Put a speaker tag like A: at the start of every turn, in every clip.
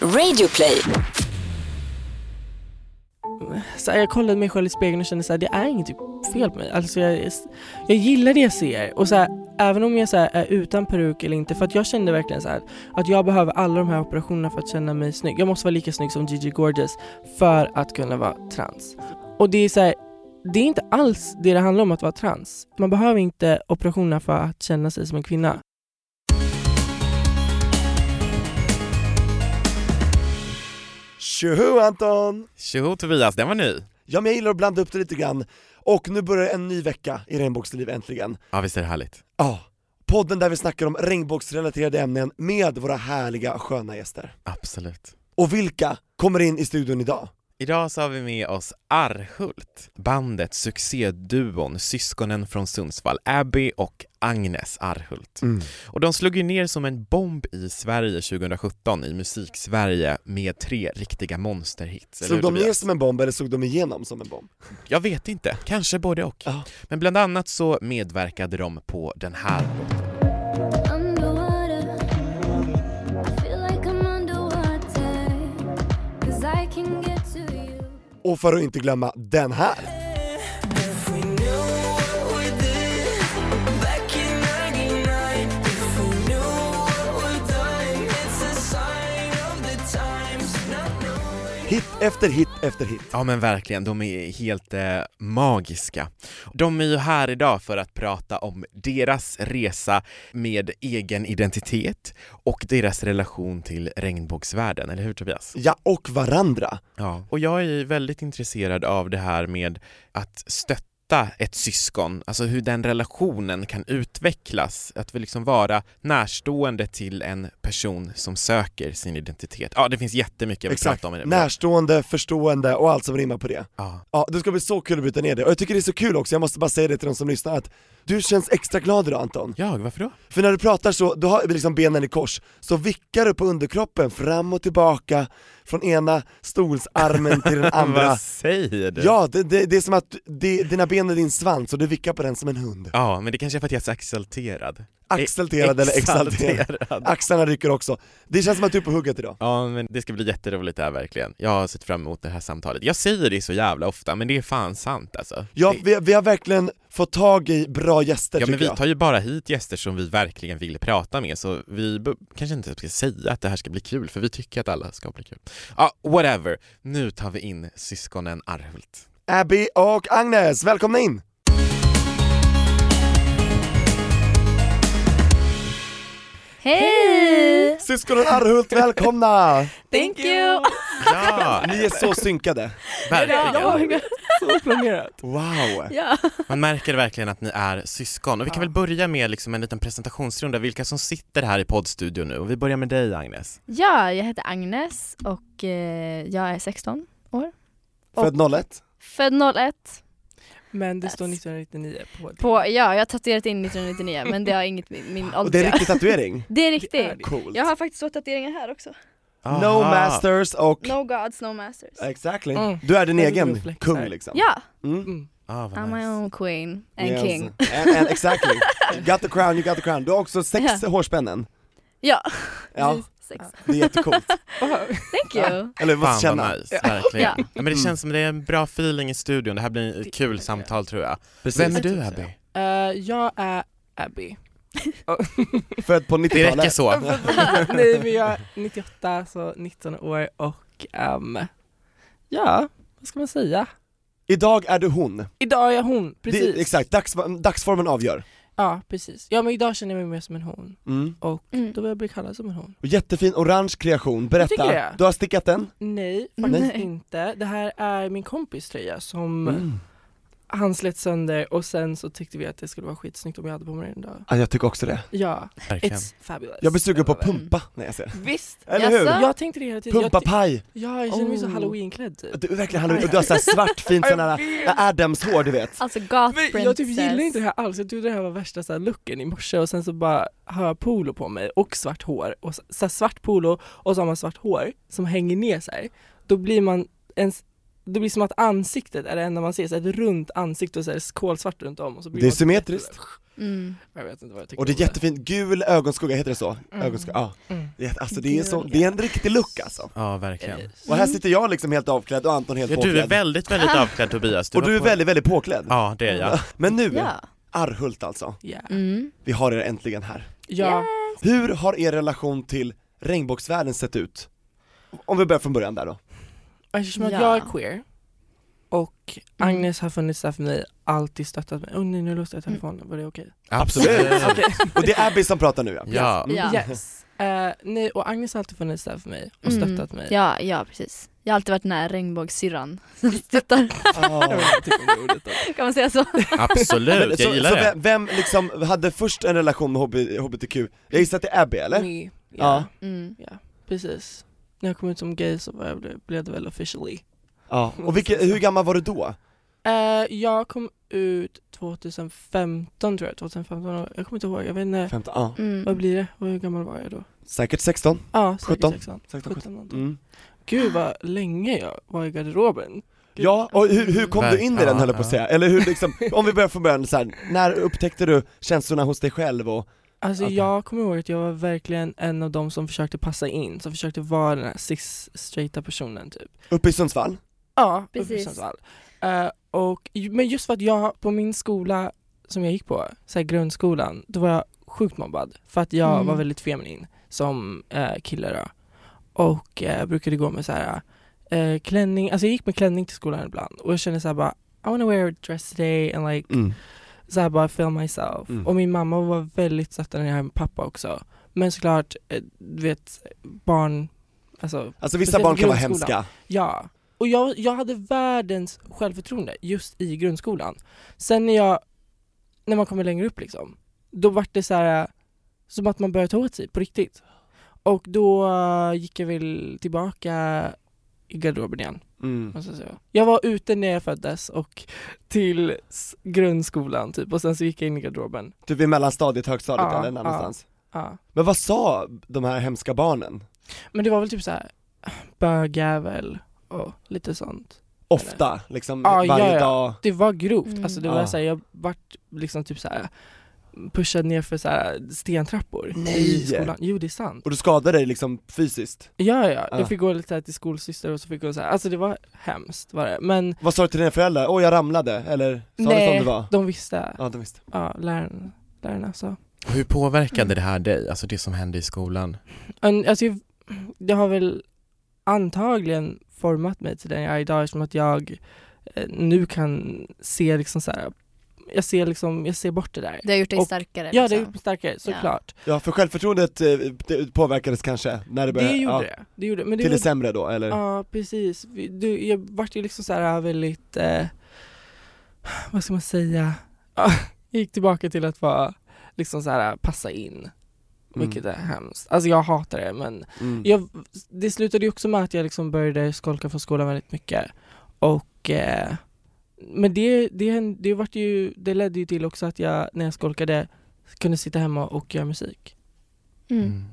A: Radioplay.
B: Så här, jag kollade mig själv i spegeln och kände så här, det är inget typ fel på mig. Alltså jag, jag gillar det jag ser. Och så här, även om jag så här, är utan peruk eller inte, för att jag kände verkligen så här, att jag behöver alla de här operationerna för att känna mig snygg. Jag måste vara lika snygg som Gigi Gorgeous för att kunna vara trans. Och det är så här, det är inte alls det det handlar om att vara trans. Man behöver inte operationerna för att känna sig som en kvinna.
C: Tjoho Anton!
D: Tjoho Tobias, den var ny.
C: Ja men jag gillar att blanda upp det lite grann. Och nu börjar en ny vecka i Regnbågsliv äntligen.
D: Ja visst är det härligt.
C: Ja, podden där vi snackar om regnbågsrelaterade ämnen med våra härliga sköna gäster.
D: Absolut.
C: Och vilka kommer in i studion idag?
D: Idag så har vi med oss Arhult, bandet, succéduon, syskonen från Sundsvall, Abby och Agnes Arhult. Och de slog ju ner som en bomb i Sverige 2017 i Musiksverige med tre riktiga monsterhits. eller
C: Slog
D: hur,
C: de ner
D: Tobias?
C: som en bomb eller slog de igenom som en bomb?
D: Jag vet inte, kanske både och.
C: Ja.
D: Men bland annat så medverkade de på den här låten.
E: Underwater, I feel like I'm underwater. Cause I can get to you.
C: Och för att inte glömma den här! Hit efter hit efter hit.
D: Ja men verkligen, de är helt eh, magiska. De är ju här idag för att prata om deras resa med egen identitet och deras relation till regnbågsvärlden, eller hur Tobias?
C: Ja, och varandra.
D: Ja. Och jag är ju väldigt intresserad av det här med att stötta ett syskon, alltså hur den relationen kan utvecklas, att vi liksom vara närstående till en person som söker sin identitet. Ja, det finns jättemycket jag vill
C: Exakt.
D: prata om i det.
C: Närstående, förstående och allt som rimmar på det.
D: Ja.
C: Ja, det ska bli så kul att bryta ner det. Och jag tycker det är så kul också, jag måste bara säga det till de som lyssnar att du känns extra glad idag Anton.
D: Jag, varför då?
C: För när du pratar så, du har liksom benen i kors, så vickar du på underkroppen fram och tillbaka från ena stolsarmen till den andra.
D: Vad säger du?
C: Ja, det, det, det är som att det, dina ben är din svans och du vickar på den som en hund.
D: Ja, men det kanske är för att jag är så exalterad.
C: Axelterad eller exalterad.
D: Exalterad.
C: Axlarna rycker också. Det känns som att du är på hugget idag.
D: Ja, men det ska bli jätteroligt det här verkligen. Jag har sett fram emot det här samtalet. Jag säger det så jävla ofta, men det är fan sant alltså.
C: Ja,
D: det,
C: vi, vi har verkligen fått tag i bra gäster
D: ja men
C: tycker
D: vi
C: jag.
D: tar ju bara hit gäster som vi verkligen vill prata med, så vi b- kanske inte ska säga att det här ska bli kul, för vi tycker att alla ska bli kul. Ja, whatever. Nu tar vi in syskonen Arhult.
C: Abby och Agnes, välkomna in!
F: Hej!
C: Syskonen Arhult, välkomna!
F: Thank you!
D: Ja,
C: Ni är så synkade.
D: verkligen.
B: Så planerat.
C: Wow!
F: Ja.
D: Man märker verkligen att ni är syskon. Och vi kan väl börja med liksom en liten presentationsrunda, vilka som sitter här i poddstudion nu. Och vi börjar med dig Agnes.
F: ja, jag heter Agnes och eh, jag är 16 år.
C: Född 01?
F: Född 01.
B: Men det står
F: Yes.
B: 1999 på det.
F: På, ja, jag har tatuerat in 1999 men det har inget med min ålder
C: Och det är en
F: att göra.
C: riktig tatuering?
F: det är
B: Det är
F: riktigt.
B: det.
C: Coolt.
F: Jag har faktiskt två tatueringar här också.
C: No masters och...
F: No gods, no masters.
C: Exactly.
B: Mm.
C: Du är din
B: Jag
C: egen
B: vill flexa.
C: kung liksom.
F: Ja,
C: Mm.
D: Ah, vad
F: I'm my
D: nice.
F: own queen and
C: Yes.
F: king.
C: And, and exactly. You got the crown, you got the crown. Du har också sex hårspännen.
F: Ja,
C: Ja,
F: precis. Sex.
C: det är jättecoolt.
F: Thank you.
C: Eller vi måste
D: Fan
C: känna.
D: vad nice, verkligen.
F: Ja.
D: Ja, men det känns som det är en bra feeling i studion, det här blir ett kul samtal tror jag. Vem är du
B: Jag tror
D: Abby?
B: Eh, jag är Abby.
C: Född på
D: Det räcker
C: 90-talet.
D: så.
B: Nej men jag är 98, så 19 år och ehm, ja, vad ska man säga?
C: Idag är du hon.
B: Idag är jag hon, precis.
C: Det, exakt, dags, dagsformen avgör.
B: Ja, precis. Ja men idag känner jag mig mer som en hon.
C: Mm.
F: Mm.
B: Då börjar jag bli kallad som en hon.
C: Och jättefin orange kreation,
B: Tycker
C: berätta.
B: jag.
C: Du har stickat den?
B: Nej, faktiskt
F: Nej.
B: inte. Det här är min kompis tröja som
C: Mm.
B: han slet sönder och sen så tyckte vi att det skulle vara skitsnyggt om jag hade på mig den idag.
C: Ja, jag tycker också det.
B: Ja,
D: Verkligen.
B: it's fabulous.
C: Jag blir sugen på
B: Jag var-
C: pumpa när jag ser det.
B: Visst!
C: Eller hur?
F: Jaså?
B: Jag tänkte det hela tiden. Jag,
C: Pumpapaj.
B: ja, jag känner mig så
C: Oh.
B: halloweenklädd typ.
C: Du är verkligen halloween, och du har såhär svart fint sån
B: Jag
C: här Adams-hår du vet.
F: Alltså goth
B: Men
F: princess.
B: jag typ gillar inte det här alls, jag trodde det här var värsta så här, looken i morse och sen så bara har jag polo på mig och svart hår. Och så, så här, svart polo och så har man svart hår som hänger ner så här. Då blir man ens det blir som att ansiktet är det enda man ser, så här, ett runt ansikte och så här, kolsvart runt om och så blir
C: Det är
B: man så här-
C: symmetriskt.
F: Mm.
B: Jag vet inte vad jag tycker
C: Och det
B: om
C: är jättefint, gul ögonskugga, heter det så? Ögonskugga, ja.
B: Mm.
C: Jätte- Alltså det är, så,
F: Gul.
C: det är en riktig look alltså.
D: Ja, verkligen.
C: Och här sitter jag liksom helt avklädd och Anton helt
D: Ja, du är
C: påklädd.
D: väldigt, väldigt avklädd Tobias.
C: och
D: var
C: du är
D: på-
C: väldigt, väldigt påklädd.
D: Ja, det är jag.
C: Men nu,
F: Ja.
C: Arhult alltså.
B: Ja.
F: Mm.
C: Vi har er äntligen här.
B: Ja.
C: Hur har er relation till regnbågsvärlden sett ut? Om vi börjar från början där då.
B: Eftersom att
F: Ja.
B: jag är queer och Agnes har funnits där för mig, alltid stöttat mig. Oh, nej, nu låste jag telefonen, var det okej?
D: Absolut.
C: Och det är Abby som pratar nu ja. Mm.
D: Ja.
F: Ja.
B: Yes. Eh, nej, och Agnes har alltid funnits där för mig och
F: Mm.
B: stöttat mig.
F: Ja, ja precis. Jag har alltid varit den här regnbågssyrran som stöttar.
C: Ah.
B: Jag vet inte typ om det ordet då.
F: Kan man säga så?
C: Men
D: Absolut,
C: så,
D: jag gillar
C: så
D: det.
C: Vem, vem liksom hade först en relation med HB, HBTQ? Jag gissar att det är Abby eller?
B: Me. Ja,
C: Ja.
F: Mm.
B: precis. När jag kom ut som gay så var jag, blev- blev det väl officially.
C: Ja. Och vilken, hur gammal var du då?
B: Eh, jag kom ut 2015 tror jag, 2015, jag kommer inte ihåg, jag vet inte,
C: 15, ja.
B: vad
F: Mm.
B: blir det? Hur gammal var jag då?
C: Säkert 16?
B: Ja, säkert
C: 17.
B: 16.
C: 16,
B: 17 någonting.
C: Mm.
B: Gud vad länge jag var i garderoben.
C: Ja, och hur, hur kom du in i
D: Verkligen.
C: den höll jag på
D: Ja,
C: att säga, eller hur liksom, om vi börjar från början så här, när upptäckte du känslorna hos dig själv och,
B: Alltså
C: Okej.
B: jag kommer ihåg att jag var verkligen en av de som försökte passa in, som försökte vara den här cis-straighta personen typ.
C: uppe i Sundsvall?
B: Ja, uppe i
F: Precis.
B: Sundsvall. Eh, och, ju- men just för att jag, på min skola som jag gick på, så här grundskolan, då var jag sjukt mobbad för att jag
F: Mm.
B: var väldigt feminin som eh, kille då. Och eh, brukade gå med så här eh, klänning, alltså jag gick med klänning till skolan ibland och jag kände så här bara I wanna wear a dress today and like
D: Mm.
B: så här bara feel myself.
C: Mm.
B: Och min mamma var väldigt stöttande när jag var med pappa också. Men såklart, eh, du vet, barn, alltså
C: Alltså vissa
B: Speciellt
C: barn kan vara
B: grundskolan.
C: hemska,
B: ja. Och jag, jag hade världens självförtroende just i grundskolan. Sen när jag, när man kommer längre upp liksom, då vart det så här eh, som att man började ta åt sig på riktigt. Och då eh, gick jag väl tillbaka i garderoben igen.
C: mm.
B: Måste jag säga. Jag var ute när jag föddes och till s- grundskolan typ och sen så gick jag in i garderoben.
C: typ i mellanstadiet, högstadiet
B: Ja,
C: eller en
B: ja.
C: annanstans.
B: Ja.
C: Men vad sa de här hemska barnen?
B: Men det var väl typ så här bögjävel och lite sånt.
C: Ofta, liksom
B: Ja,
C: varje
B: ja, ja.
C: dag?
B: Det var grovt,
F: Mm.
B: alltså det var
C: Ah.
B: så här, jag vart liksom typ så här pushad ner för så här stentrappor
C: Nej.
B: i skolan. Jo det är sant.
C: Och du skadade dig liksom fysiskt?
B: Ja ja,
C: Ah.
B: jag fick gå lite så här till skolsyster och så fick hon så här, alltså det var hemskt var det. Men
C: Vad sa du till dina föräldrar? Åh jag ramlade, eller sa du som det var?
B: de visste.
C: Ja de visste.
B: Ja, läraren, lärarna sa.
D: Hur påverkade
C: Mm.
D: det här dig, alltså det som hände i skolan?
B: En- Alltså, jag- det har väl antagligen format mig till den jag är idag eftersom att jag eh, nu kan se liksom så här, jag ser liksom, jag ser bort det där.
F: Det har gjort dig
B: Och-
F: starkare.
B: Ja, det har
F: liksom.
B: gjort mig starkare såklart.
C: Ja för självförtroendet eh, det påverkades kanske när det
B: Det,
C: började,
B: gjorde
C: ja,
B: det. Det gjorde det. Men det
C: till det
B: var,
C: sämre då eller?
B: Ja, precis. Vi- Du, jag vart ju liksom så här väldigt, eh, vad ska man säga, Ja, jag gick tillbaka till att vara liksom så här passa in,
C: Mm.
B: vilket är hemskt. Alltså jag hatar det men
C: Mm.
B: jag, det slutade ju också med att jag liksom började skolka från skolan väldigt mycket. Och, eh, men det, det, det, vart ju, det ledde ju till också att jag, när jag skolkade, kunde sitta hemma och göra musik.
F: Mm.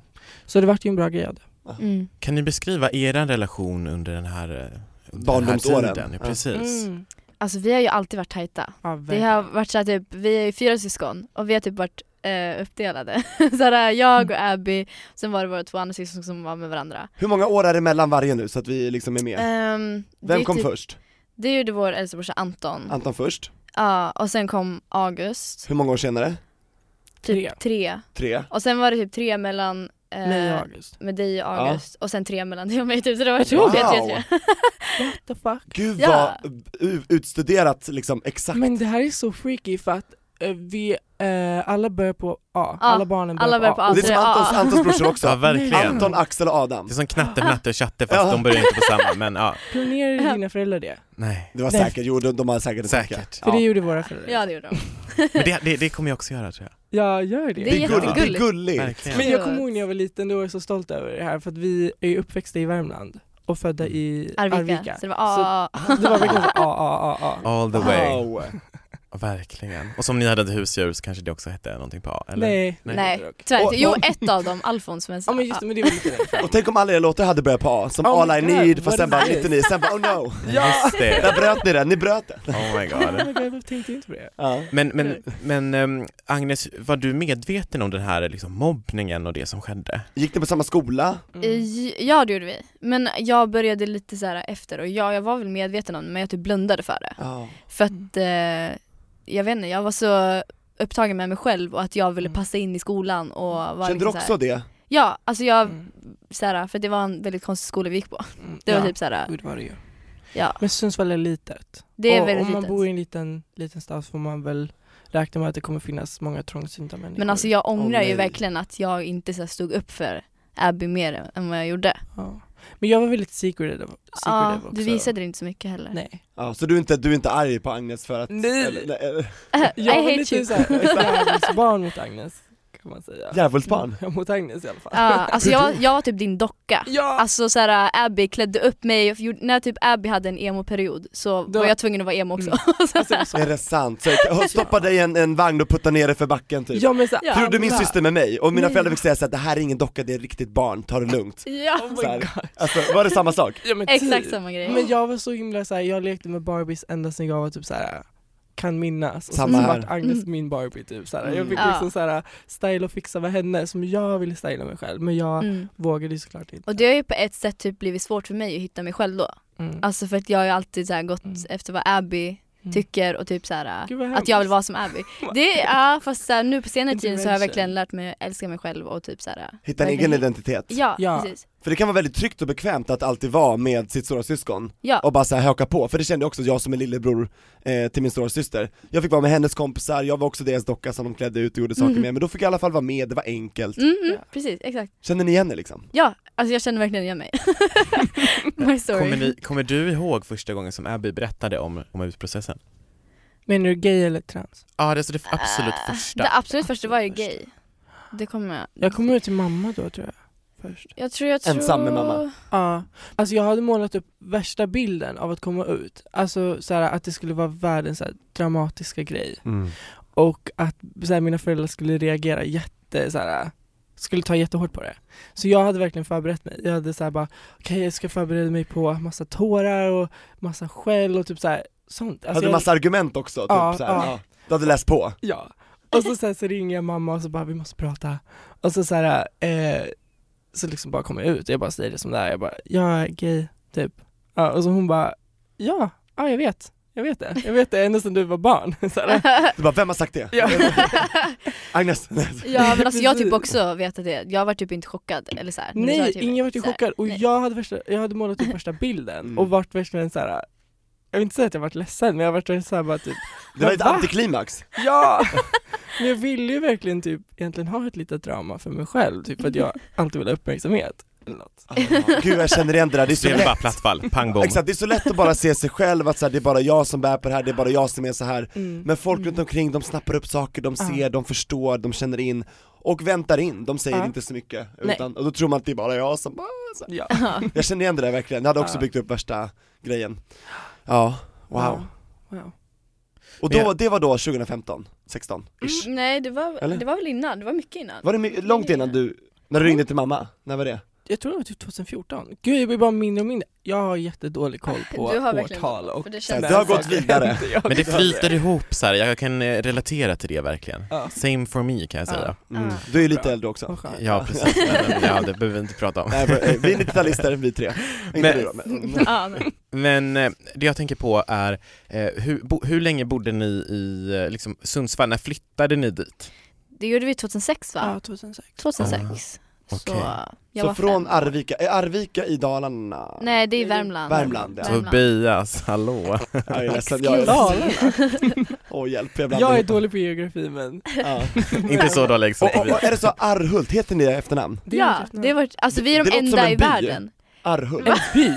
B: Så det vart ju en bra grej av det.
F: Mm.
D: Kan ni beskriva er relation under den här eh, under Den
C: Barndomsåren.
D: här tiden? Ja,
C: Ja.
D: Precis.
B: Mm.
F: Alltså vi har ju alltid varit tajta.
B: Ja,
F: Det
B: verkligen.
F: har varit så här, typ, vi är ju fyra syskon och vi har typ varit eh, uppdelade. så här, jag och
B: Mm.
F: Abby, sen var det våra två andra syskon som var med varandra.
C: Hur många år är det mellan varje nu så att vi liksom är med?
F: Ehm, det
C: Vem
F: är
C: kom
F: typ,
C: först?
F: Det gjorde vår äldsta brorsa Anton. Ja,
C: Anton först?
F: och sen kom August,
C: Hur många år senare?
F: typ
B: Tre.
F: tre.
C: Tre?
F: Och sen var det typ tre mellan eh,
B: Nej, August.
F: med dig och
C: Ja.
F: August och sen tre mellan dig och mig typ så det var typ
B: Wow.
F: tre, tre, tre.
B: What the fuck?
C: Gud
F: Ja.
C: vad u- utstuderat liksom exakt.
B: Men det här är så freaky för att eh, vi, eh, alla börjar på A.
F: Ja,
B: alla barnen börjar
F: alla
B: på
F: börjar på
B: A.
F: A.
C: och det är som
F: Ja.
C: Antons, Antons brorsor också.
D: Ja, verkligen.
C: Anton, Axel och Adam.
D: Det är som knatte, natte och tjatte fast
C: Ja.
D: de börjar inte på samma, men ja.
B: Planerade dina föräldrar det?
D: Nej.
C: Det var
B: Nej.
C: säkert, jo de, de har säkert en tanke.
D: Säkert.
B: För
C: Ja.
B: det gjorde våra föräldrar.
F: Ja det gjorde de.
D: Men det, det, det kommer jag också göra tror jag.
B: Ja, gör det.
F: Det är
C: Det är gulligt. Det är
F: jättegulligt.
C: gulligt.
D: Verkligen.
B: Men jag
F: Gud.
B: kommer ihåg när jag var liten, då var jag så stolt över det här för att vi är ju uppväxta i Värmland och födda i
F: Arvika.
B: Arvika.
F: Så det var
B: Så-
F: ah,
B: det var verkligen så, a, a, a, a.
D: All the way.
C: Wow.
D: Verkligen. Och som ni hade ett husdjur så kanske det också hette någonting på A, eller?
B: Nej.
D: Nej.
F: Nej, tyvärr inte.
C: Och-
F: Jo,
C: och-
F: ett av dem, Alfons. Men,
B: Ja men just det, men det var lite det.
C: Och tänk om alla era låtar hade börjat på A, som
B: Oh my
C: All I
B: God,
C: Need, fast
B: what
C: sen
B: is
C: bara
B: this?
C: 99, sen bara oh no!
D: Just
C: Där
D: det.
C: bröt ni den, ni bröt den!
D: Oh my
B: Oh
D: god.
B: my God, jag tänkte inte på det.
C: Ja.
D: Men, men, men ehm, Agnes, var du medveten om den här liksom, mobbningen och det som skedde?
C: Gick ni på samma skola?
B: Mm.
F: I- Ja det gjorde vi, men jag började lite så här efter och ja, jag var väl medveten om det men jag typ blundade för det.
C: Ja.
F: För att eh, jag vet inte, jag var så upptagen med mig själv och att jag
B: Mm.
F: ville passa in i skolan och var
C: Kände du
F: liksom så
C: också
F: här,
C: det?
F: Ja, alltså jag,
B: Mm.
F: så här, för det var en väldigt konstig skola vi gick på.
B: Mm.
F: Det var
B: Ja.
F: typ så här,
B: Gud vad det gör.
F: ja
B: Men Sundsvall är litet.
F: det är
B: och
F: väldigt
B: om man
F: litet.
B: bor i en liten, liten stad så får man väl räkna med att det kommer finnas många trångsynta människor.
F: Men alltså jag ångrar
C: nej.
F: ju verkligen att jag inte så här, stod upp för Abby mer än vad jag gjorde.
B: ja. Men jag var väldigt secretive,
F: Ja,
B: secretive också.
F: du visade det inte så mycket heller.
B: Nej.
C: Ja, så du är inte, du är inte arg på Agnes för att...
B: Nej.
C: eller- nej, eh, eller-
F: I
B: Jag var
F: hate you.
B: lite såhär barn mot Agnes, kan man säga.
C: Djävulsbarn!
B: Ja, Mot Agnes i alla fall.
F: Ja, alltså jag, jag var typ din docka.
B: Ja!
F: Alltså såhär Abby klädde upp mig, och gjorde- när typ Abby hade en emo-period så
B: Då-
F: var jag tvungen att vara emo också.
B: Mm. Alltså, det är så-
C: Är det sant? Så jag stoppade dig i en, en vagn och puttade ner dig för backen typ?
B: Ja men så
F: Ja.
C: Gjorde min
B: alla-
C: syster med mig, och mina
B: Nej.
C: föräldrar fick säga såhär, det här är ingen docka, det är ett riktigt barn, ta det lugnt
F: Ja,
B: Oh
C: Så
B: my
C: här.
B: god.
C: Alltså var det samma sak?
B: Ja, men
F: exakt
B: typ.
F: samma grej.
B: Men jag var så himla såhär, jag lekte med Barbies ända sedan jag var typ såhär kan minnas och
C: Samma
B: sen så
C: här.
B: vart Agnes min Barbie typ såhär. Jag fick
F: Mm.
B: liksom
F: Ja.
B: såhär styla och fixa med henne som jag ville styla mig själv men jag
F: mm.
B: vågade ju såklart inte.
F: Och det har ju på ett sätt typ blivit svårt för mig att hitta mig själv då.
B: Mm.
F: Alltså för att jag har ju alltid så här gått
B: Mm.
F: efter vad Abby
B: Mm.
F: tycker och typ så här
B: Gud, vad
F: att
B: hemskt.
F: jag vill vara som Abby. Det, ja fast så här, nu på senare tid så har jag
B: Intervention.
F: verkligen lärt mig att älska mig själv och typ så här.
C: Hitta en
F: verkligen-
C: egen identitet.
F: Ja,
B: Ja.
F: precis.
C: För det kan vara väldigt tryggt och bekvämt att alltid vara med sitt stora syskon
F: Ja.
C: och bara så här haka på, för det kände jag också jag som är lillebror eh, till min stora syster. Jag fick vara med hennes kompisar, jag var också deras docka som de klädde ut och gjorde saker
F: Mhm.
B: Mm.
C: med, men då fick jag i alla fall vara med, det var enkelt.
F: Mm, mm,
B: Ja.
F: precis, exakt.
C: Känner ni igen er liksom?
F: Ja, alltså jag känner verkligen igen mig. My story.
D: Kommer, ni, kommer du ihåg första gången som Abby berättade om, om utprocessen?
B: Menar du gay eller trans?
D: Ja, det är så det absolut
F: Äh,
D: första.
F: Det absolut första var ju
D: Absolut
F: gay. Det kommer jag.
B: Jag kom ut till mamma då tror jag. Först.
F: Jag tror jag tror...
C: Ensam med mamma.
B: Ja, alltså jag hade målat upp värsta bilden av att komma ut. Alltså så här, att det skulle vara världens så här, dramatiska grej. Och att så här, mina föräldrar skulle reagera jätte, så här, skulle ta jättehårt på det. Så jag hade verkligen förberett mig. Jag hade så här bara, okej jag ska förbereda mig på massa tårar och massa skäll och typ så här, sånt. Alltså,
C: hade du
B: jag,
C: massa argument också? Typ,
B: Ja,
C: så här,
B: ja.
C: ja. Du hade läst på?
B: Ja. Och så, så, här, så ringer jag mamma och så bara, vi måste prata. Och så så här, eh, så liksom bara kommer jag ut jag bara säger det som det är. Jag bara, jag är gay, typ. Ja, och så hon bara, ja, ja jag vet. Jag vet det. Jag vet det ända sedan du var barn. Så här.
C: Du bara, vem har sagt det?
B: Ja.
C: Agnes?
F: Ja men alltså jag typ
B: Precis.
F: också vet att det, jag var typ inte chockad eller så här. Men så var
B: Nej,
F: jag typ
B: ingen vart ju
F: så här,
B: chockad och
F: nej.
B: jag hade, värsta, jag hade målat upp värsta bilden
C: Mm.
B: och vart verkligen så här. jag vill inte säga att jag vart ledsen men jag vart såhär bara typ,
C: Det var ett
B: Va?
C: antiklimax.
B: ja! Men jag ville ju verkligen typ egentligen ha ett litet drama för mig själv, typ för att jag alltid vill ha uppmärksamhet. Eller något.
C: Ah, Gud jag känner igen det där, det är så
D: Det blev bara
C: lätt.
D: plattfall, pang bom.
C: Exakt, det är så lätt att bara se sig själv, att så här, det är bara jag som bär på det här, det är bara jag som är så här.
F: Mm.
C: Men folk runt omkring, de snappar upp saker, de
B: Mm. Ja.
C: ser, de förstår, de känner in och väntar in, de säger
B: Ja.
C: inte så mycket.
B: Nej.
C: Utan, och då tror man att det är bara jag som bara, så.
B: Ja.
C: Jag känner igen det där verkligen, jag hade också
B: Ja.
C: byggt upp värsta grejen. Ja, wow.
B: Ja. Wow.
C: Och
D: Men
C: då,
D: jag-
C: det var då 2015, 16 ish.
F: Mm, Nej det var,
C: Eller?
F: det var väl innan, det var mycket innan.
C: Var det my- långt innan du, när du ringde till mamma? När var det?
B: Jag tror det var typ 2014. Gud jag blir bara mindre och mindre. Jag har jättedålig koll på
F: Du har verkligen
B: årtal
F: koll,
B: och
F: för det känns-
C: Du har gått vidare.
D: Men det flyter ihop så här. jag kan eh, relatera till det verkligen.
B: Ja.
D: Same for me kan jag säga.
C: Mm.
F: Ah.
C: Du är lite
B: Bra.
C: äldre också.
B: Vad skönt.
D: Ja, precis. Men, Ja, det behöver vi inte prata om.
C: Nej, men, eh, vi är 90-talister, vi tre. Inte
D: Men-
C: du då, men, Mm.
F: ja, nej.
D: Men eh, det jag tänker på är, eh, hur, bo, hur länge bodde ni i eh, liksom, Sundsvall? När flyttade ni dit?
F: Det gjorde vi 2006 va?
B: Ja, 2006.
D: Ah,
F: 2006. Så
D: okej.
F: jag
C: Så
F: var
C: från
F: fem år.
C: Arvika, är Arvika i Dalarna?
F: Nej det är Värmland.
C: Värmland, ja.
D: Tobias, hallå?
C: Ja, jag är ledsen, jag är ledsen.
B: Dalarna.
C: Åh hjälp, jag blandar
B: Jag är
C: ihop.
B: dålig på geografi men
C: Ja.
D: inte så liksom. dålig som
C: Och, och, och är det så Arhult, heter ni det i efternamn?
B: det är
F: Ja,
B: mitt
F: det var, alltså vi är
C: Det
F: de
C: låter som en
F: enda i
C: by.
F: världen.
C: Arhult?
B: En by?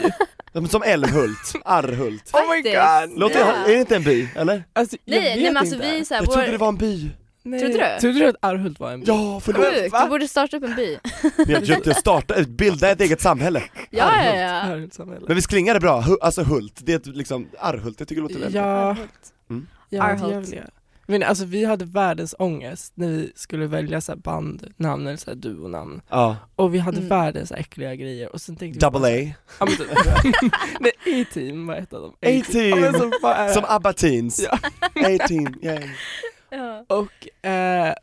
C: Ja, men Som Älmhult, Arhult.
B: Oh my god!
C: Låter,
F: Ja.
C: Är det inte en by, eller?
B: Alltså, jag
F: Nej,
B: vet
F: nej men alltså
B: inte.
F: vi är såhär,
C: Jag trodde det
F: vår...
C: var en by.
B: Nej.
F: Trodde du?
B: Trodde du att Arhult var en by?
C: Ja, förlåt.
F: Sjukt, du borde starta upp en by.
C: Men jag tyckte jag starta, bilda ett eget samhälle.
F: Ja, ja, ja.
B: Arhult. Arhult-samhälle.
C: Men vi klingar det bra, Hu- alltså Hult, det är ett liksom, Arhult, jag tycker det låter väldigt
B: Ja,
F: Arhult.
C: Mm.
B: Ja,
F: Arhult.
B: jag vill göra. Men alltså vi hade världens ångest när vi skulle välja så här bandnamn eller så här duonamn
C: Ja,
B: och vi hade
F: Mm.
B: världens äckliga grejer och sen tänkte vi bara-
C: double A.
B: Ja, men typ. Nej, A-team var ett av dem. Ja, men
C: A-team!
B: så vad är det?
C: Som ABBA-teens.
B: Ja.
C: A-team, yay.
F: Ja.
B: Och, eh,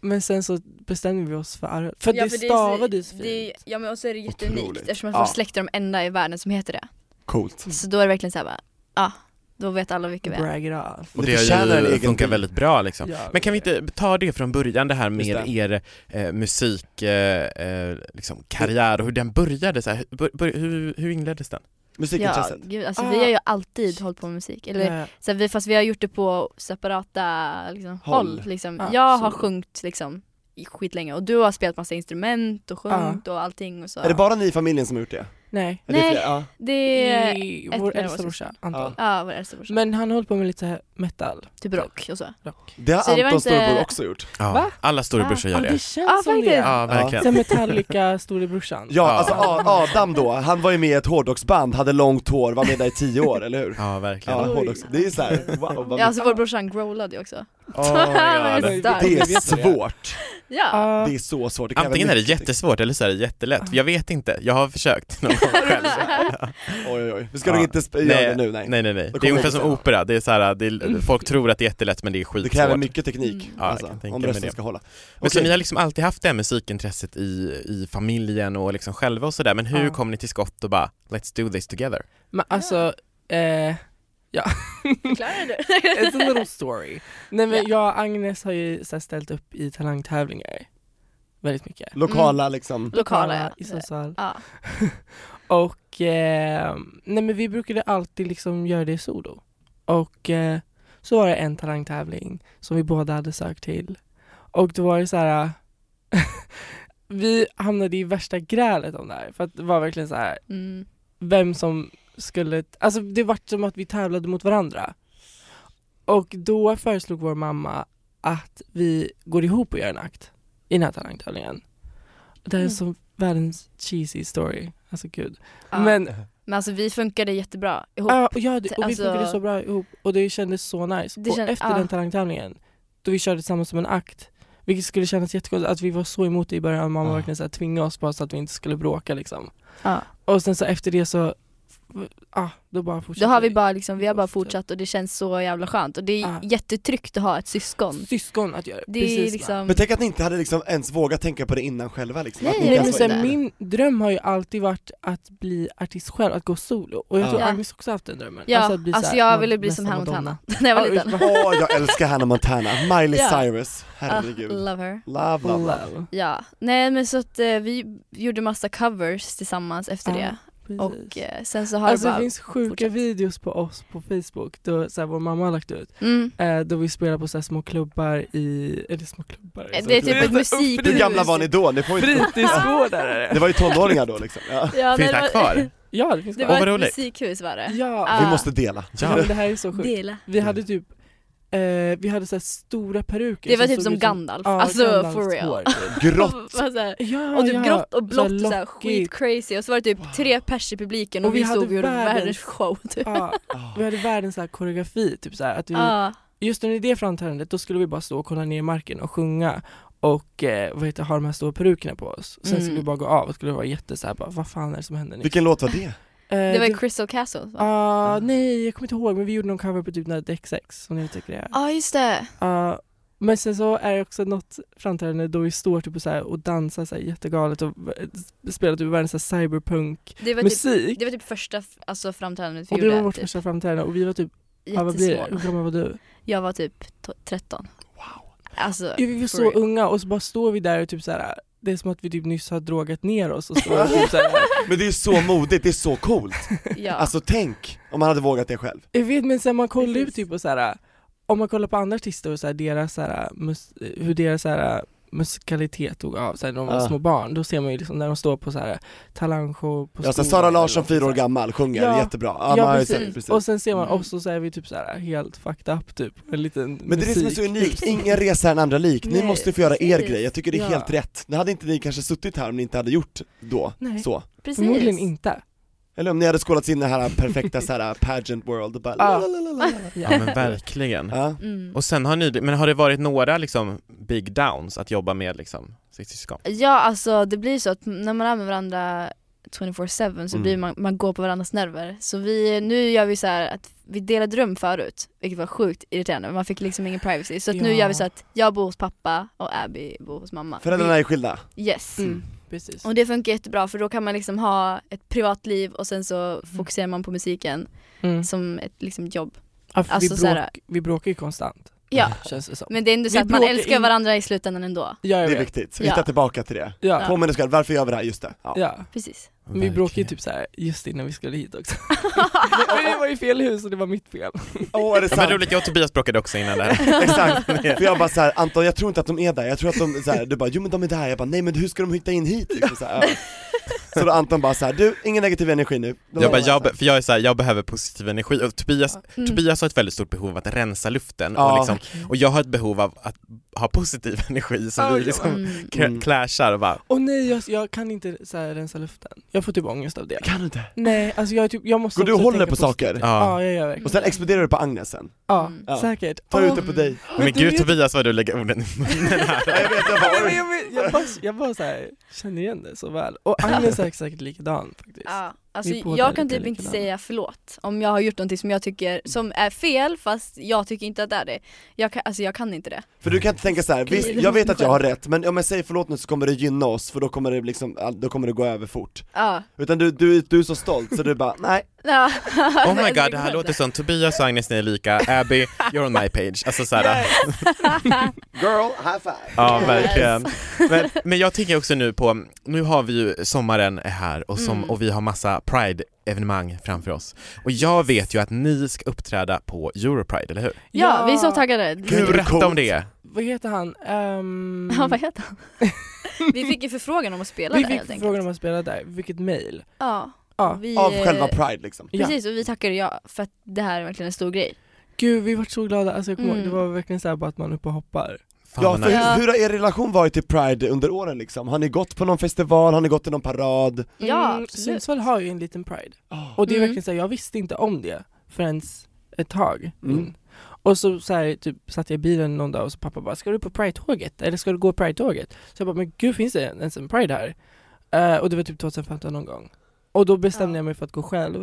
B: men sen så bestämde vi oss för Arhult, för att
F: Ja,
B: det
F: för
B: stavades
F: det,
B: fint.
F: är så- det, Ja men och så är det jätteunikt
C: Otroligt.
F: eftersom att
C: Ja.
F: vår släkt är de enda i världen som heter det.
C: Coolt.
B: Mm.
F: Så då är det verkligen såhär bara, ja, då vet alla vilka vi är.
B: Brag it off.
D: Och
C: Det
D: det,
C: förtjänar en
D: har ju
C: egen
D: funkat
C: bil.
D: väldigt bra liksom.
B: Ja,
D: Men kan vi inte ta det från början det här med
C: Just det.
D: er eh, musik, eh, eh, liksom, karriär och hur den började, så här, hur, bör, hur, hur inleddes den?
F: Ja,
C: Musikintresset.
F: gud, alltså
B: Ah.
F: vi har ju alltid hållit på med musik. Eller,
B: Eh,
F: så här, vi, fast vi har gjort det på separata liksom,
C: Håll.
F: håll. liksom.
B: Ja,
F: jag har
B: så.
F: sjungit liksom i skitlänge och du har spelat massa instrument och sjungit
B: Ah.
F: och allting och så.
C: Är det bara ni i familjen som har gjort det?
B: Nej.
C: Är det
F: Nej.
C: fler? Ja.
F: Det är,
B: I
F: ett
B: vår
F: mer
B: äldsta
F: åsikt.
B: brorsa, Anton.
F: ja, vår äldsta brorsa.
B: Mm. Men han håller på med lite metal.
F: Typ rock och så.
B: Rock.
C: Det har
F: Så det var
C: Antons
F: inte-
C: storebror också gjort.
D: Ja,
B: Va? Ah.
D: alla storebrorsor
B: Ja,
D: gör
B: det
D: det.
B: känns
F: Ja,
B: som det.
F: faktiskt.
D: Ja, verkligen.
B: Så Metallica, storebrorsan.
C: Ja,
D: Ja.
C: alltså A- Adam då, han var ju med i ett hårdrocksband, hade långt hår, var med där i tio år, eller hur?
D: Ja,
C: Ja,
D: verkligen.
B: Oj.
C: hårdrocks. Det är så här, wow, vad
F: Ja, alltså vår brorsan growlade ju också.
D: Oh
F: Ja,
D: my
F: men-
D: God.
B: Oj,
F: starkt.
C: Det är
B: vet du
C: svårt.
F: Ja.
B: Ja.
C: Det är så svårt. Det kan
D: Antingen är
C: vara
D: det
C: mycket.
D: jättesvårt eller så är det jättelätt. Jag vet inte, jag har försökt någon gång själv.
C: Oj oj oj, vi ska
D: Ja.
C: nog inte sp- göra det nu, nej.
D: Nej nej nej,
C: Då
D: det är
C: kommer
D: ungefär
C: det
D: som
C: sen.
D: opera, det är så här, det är,
B: Mm.
D: folk tror att det är jättelätt men det är
C: Det kräver
D: skitsvårt.
C: mycket teknik,
F: Mm.
D: Ja, jag
C: alltså,
D: kan tänka
C: om
D: mig
C: rösten
D: det.
C: ska hålla.
D: Men så
C: Okej.
D: ni har liksom alltid haft det här musikintresset i, i familjen och liksom själva och sådär, men hur
B: Ja.
D: kom ni till skott och bara “Let's do this together”?
B: Men alltså, eh,
F: Förklarar du?
B: it's a little story. Nej men jag och Agnes har ju så här, ställt upp i talangtävlingar väldigt mycket.
C: Lokala liksom,
F: Lokala
B: I
F: ja.
B: Sundsvall.
F: ja.
B: Och, eh, nej men vi brukade alltid liksom göra det solo. Och eh, så var det en talangtävling som vi båda hade sökt till. Och då var det så här. eh, vi hamnade i värsta grälet om det här. För att det var verkligen så här.
F: Mm.
B: vem som skulle, alltså det vart som att vi tävlade mot varandra. Och då föreslog vår mamma att vi går ihop och gör en akt i den här talangtävlingen. Det här är
F: Mm.
B: som världens cheesy story, alltså gud.
F: Ja.
B: Men
F: Men alltså vi funkade jättebra ihop.
B: ja, och, ja, det- och vi
F: Alltså-
B: funkade så bra ihop och det kändes så nice.
F: Det
B: och
F: kän- ah.
B: efter
F: ja.
B: den talangtävlingen, då vi körde tillsammans som en akt, vilket skulle kännas jättekonstigt, att vi var så emot det i början, mamma
F: Ah.
D: Ja.
B: verkligen så här, tvingade oss bara så att vi inte skulle bråka liksom.
F: Ja.
B: Och sen så efter det så, ja då bara
F: Då
B: fortsatte
F: har vi bara liksom, vi har bara fortsatt och det känns så jävla skönt och det är
B: Ja.
F: jättetryggt att ha ett syskon.
B: syskon att göra
F: Det är
B: precis.
F: liksom,
C: men tänk att ni inte hade liksom ens vågat tänka på det innan själva liksom.
F: Nej,
C: att ni
B: Nej,
C: inte
B: men
C: ens var
B: sen,
C: inne.
B: min dröm har ju alltid varit att bli artist själv, att gå solo. Och jag
C: Ja.
B: tror
F: Ja.
B: Agnes också haft den drömmen.
F: ja,
B: att bli
F: alltså,
B: såhär,
F: jag
B: Mad-
F: ville bli som
B: nästan
F: Hannah Montana
B: Madonna.
F: när jag var
B: Ja,
F: liten.
B: just-
C: Åh, jag älskar Hannah Montana, Miley
F: Ja.
C: Cyrus,
F: Ah,
C: herregud. love,
F: love her.
C: love, love.
B: Love.
F: Ja, nej men så att eh, vi gjorde massa covers tillsammans efter
B: Ja,
F: det
B: precis.
F: och eh, sen så har
B: Alltså
F: det
B: det
F: bara...
B: finns sjuka
F: fortsatt.
B: videos på oss på Facebook, då, så här, vår mamma har lagt ut,
F: Mm.
B: eh, då vi spelar på så här, små klubbar i, eller små klubbar?
F: Eh, Det är typ
C: Det är
F: ett musik...
C: Hur gamla var ni då? Ni får ju...
B: Fritidsgårdar är det!
C: Det var ju tonåringar då liksom. Ja.
F: Ja,
D: Finns
F: nej,
D: det här kvar?
B: Ja det finns
F: Det
B: det
D: Åh, vad
F: var ett
D: roligt.
F: musikhus var det.
B: Ja,
F: Ah.
C: Vi måste dela.
B: ja.
D: Ja.
B: Men det här är så sjukt.
F: Dela.
B: Vi hade typ, eh, vi hade så här stora peruker
F: Det var typ
B: såg
F: som
B: ut
F: Gandalf,
B: ja,
F: alltså
B: Gandalfs
F: for real.
B: hår, typ.
C: Grått.
F: Och, var så här,
B: Ja,
F: och typ
B: ja.
F: grått och blått,
B: Så här
F: så här,
B: lockigt.
F: skit crazy och så var det typ tre pers i publiken och,
B: Och vi
F: vi
B: hade
F: stod och gjorde
B: världens-
F: världens show typ.
B: Ja,
C: Ah.
B: vi hade världens så här koreografi, typ så här, att vi,
F: Ja.
B: just under det framträdandet då skulle vi bara stå och kolla ner i marken och sjunga och eh, vad heter, ha de här stora perukerna på oss. Sen
F: Mm.
B: skulle vi bara gå av och skulle vara jätte så här, bara, vad fan är det som händer nu?
C: Vilken låt var det?
B: Eh,
F: Det var ju Crystal Castle va?
B: ah, nej, jag kommer inte ihåg men vi gjorde någon cover på typ när XX som ni tycker det är.
F: Ja just det.
B: Ja, men sen så är det också något framträdande då vi står typ och, så här, och dansar så här, jättegalet och eh, spelar typ världens så här cyberpunk
F: Det var typ,
B: musik.
F: det var typ första f- alltså, framträdandet vi
B: och det
F: gjorde.
B: var vårt
F: typ.
B: första framträdande och vi var typ Ja, vad blir det? Hur
F: Jättesmå.
B: gammal var du?
F: Jag var typ to- 13.
C: Wow.
F: Alltså,
B: Vi var
F: for
B: så
F: real.
B: unga och så bara står vi där och typ såhär, det är som att vi typ nyss har drogat ner oss och står och typ såhär.
C: Men det är så modigt, det är så coolt.
F: Ja.
C: Alltså tänk om man hade vågat det själv.
B: Jag vet men sen man kollar ju
F: Precis.
B: typ på såhär, om man kollar på andra artister och såhär, deras såhär, mus- hur deras såhär, musikalitet tog av såhär, när de var
C: Ja.
B: små barn, då ser man ju liksom när de står på såhär talangshow på
C: Ja, så
B: skolan
C: Sara
B: eller
C: Larsson,
B: något
C: fyra år
B: såhär.
C: gammal, sjunger
B: Ja.
C: jättebra.
B: Ja,
C: man har ju
B: precis.
C: sett det, precis.
B: Och sen ser man
F: Mm.
B: oss och så är vi typ såhär helt fucked up typ, en liten
C: Men det är det som är så unikt, ingen resa är en andra lik. Ni
B: Nej,
C: måste få göra er
F: precis.
C: grej, jag tycker det är
B: Ja.
C: helt rätt. Nu hade inte ni kanske suttit här om ni inte hade gjort då,
B: Nej.
C: så.
F: Precis.
B: Förmodligen inte.
C: Eller om ni hade skålats in i det här perfekta så här uh, pageant world och bara
B: Ja.
C: lalalala.
D: Ja men verkligen.
C: Ja.
F: Mm.
D: Och sen har ni, men har det varit några liksom big downs att jobba med liksom sitt syskon?
F: Ja alltså det blir så att när man är med varandra 24-7 så
C: Mm.
F: blir man, man går på varandras nerver. Så vi, nu gör vi så här att vi delade rum förut, vilket var sjukt irriterande, man fick liksom ingen privacy. Så att nu
B: Ja.
F: gör vi så att jag bor hos pappa och Abby bor hos mamma.
C: Föräldrarna är skilda.
F: Vi, yes.
B: Mm, precis.
F: Och det funkar jättebra för då kan man liksom ha ett privatliv och sen så fokuserar man på musiken
B: Mm.
F: som ett liksom jobb.
B: Ja, för
F: alltså
B: vi,
F: så här-
B: bråk, vi bråkar ju konstant,
F: Ja,
B: känns det som.
F: men det är ändå så
B: Vi
F: att man
B: bråkar
F: älskar
B: in-
F: varandra i slutändan ändå.
B: Ja, jag
C: Det är
B: vet.
C: viktigt,
F: Ja.
C: hitta tillbaka till det.
B: Ja.
C: Påminn dig själv, varför gör vi det här? Just det. Ja.
B: ja.
F: Precis.
B: Men vi bråkade ju typ såhär just innan vi skulle hit också. Men det var ju fel hus och det var mitt fel.
C: Åh, är det
D: Ja, men
C: sant?
D: roligt, jag och Tobias bråkade också innan det här.
C: Exakt, för jag bara så här, Anton jag tror inte att de är där, jag tror att de, så här, du bara jo men de är där, jag bara nej men hur ska de hitta in hit? Liksom, så, här, ja. så då Anton bara så här, du ingen negativ energi nu. De
D: Jag bara, alltså.
C: är
D: jag,
C: så
D: be-
C: här.
D: för jag är såhär, jag behöver positiv energi och Tobias,
F: Mm.
D: Tobias har ett väldigt stort behov av att rensa luften
C: Ja.
D: och, liksom, och jag har ett behov av att ha positiv energi som
B: Ja,
D: vi liksom
F: Mm.
D: kra-
C: Mm.
D: clashar och bara,
B: Och nej jag, jag kan inte så här rensa luften. Jag får typ ångest av det.
C: Kan du inte?
B: Nej, alltså jag, är typ, jag måste
C: Går du och
B: också
C: håller
B: tänka
C: på saker?
B: positivt.
D: ja.
B: Ja, jag gör verkligen
C: Och sen exploderar du på Agnes sen,
B: Ja,
F: Mm.
B: säkert.
C: tar
B: Åh,
C: ut det på dig.
D: Men
B: du
D: gud
B: vet-
D: Tobias vad du lägger orden i munnen
C: Ja, jag
D: här.
C: vet,
B: Nej,
C: jag bara,
B: men
C: oj.
B: jag, vet- jag bara, jag bara så här, känner igen det så väl. Och Agnes är säkert likadan faktiskt.
F: Ja, alltså
B: Vi är båda
F: jag kan
B: lite
F: typ inte
B: likadana.
F: säga förlåt om jag har gjort någonting som jag tycker som är fel fast jag tycker inte att det är det. Jag kan, alltså jag kan inte det.
C: för du kan inte tänka så här, visst jag vet att jag har rätt, men om jag säger förlåt nu så kommer det gynna oss för då kommer det liksom, ja, då kommer det gå över fort.
F: Ja.
C: Utan du, du, du är så stolt så du bara, nej,
F: ja.
D: Oh my god, det här låter som Tobias och Agnes ni är lika, Abby, you're on my page. Alltså såhär,
C: girl, high five.
D: ja
F: Yes.
D: verkligen. Men, men jag tänker också nu på, nu har vi ju, sommaren är här och, som,
F: Mm.
D: och vi har massa Pride-evenemang framför oss. Och jag vet ju att ni ska uppträda på Europride, eller hur?
F: Ja, vi är så taggade.
C: Gud, vad
D: Berätta om
C: coolt.
D: det!
B: Vad heter han? Ehm,
F: Ja, vad heter han? Vi fick ju förfrågan om att spela
B: vi
F: där helt
B: fick frågan
F: enkelt.
B: om att spela där, vilket mail.
F: Ja.
B: Ja.
F: Vi,
C: Av
F: eh,
C: själva pride liksom.
B: Ja.
F: Precis, och vi tackade ja för att det här är verkligen en stor grej.
B: Gud vi vart så glada, alltså jag kommer
F: Mm.
B: ihåg, det var verkligen såhär bara att man är uppe och hoppar.
D: Fan
C: Ja,
D: vad
C: för
D: nice.
F: Ja.
C: hur har er relation varit till Pride under åren liksom? Har ni gått på någon festival, har ni gått i någon parad?
F: Ja,
B: Mm,
F: absolut.
B: Sundsvall har ju en liten pride. Och det är
F: Mm.
B: verkligen såhär, jag visste inte om det förrän ett tag in.
C: Mm.
B: Och så, så här, typ, satt jag i bilen någon dag och så pappa bara, ska du på Pride-tåget? Eller ska du gå Pride-tåget? Så jag bara, men gud finns det ens en Pride här? Eh, och det var typ 2015 någon gång. Och då bestämde
F: Ja.
B: jag mig för att gå själv.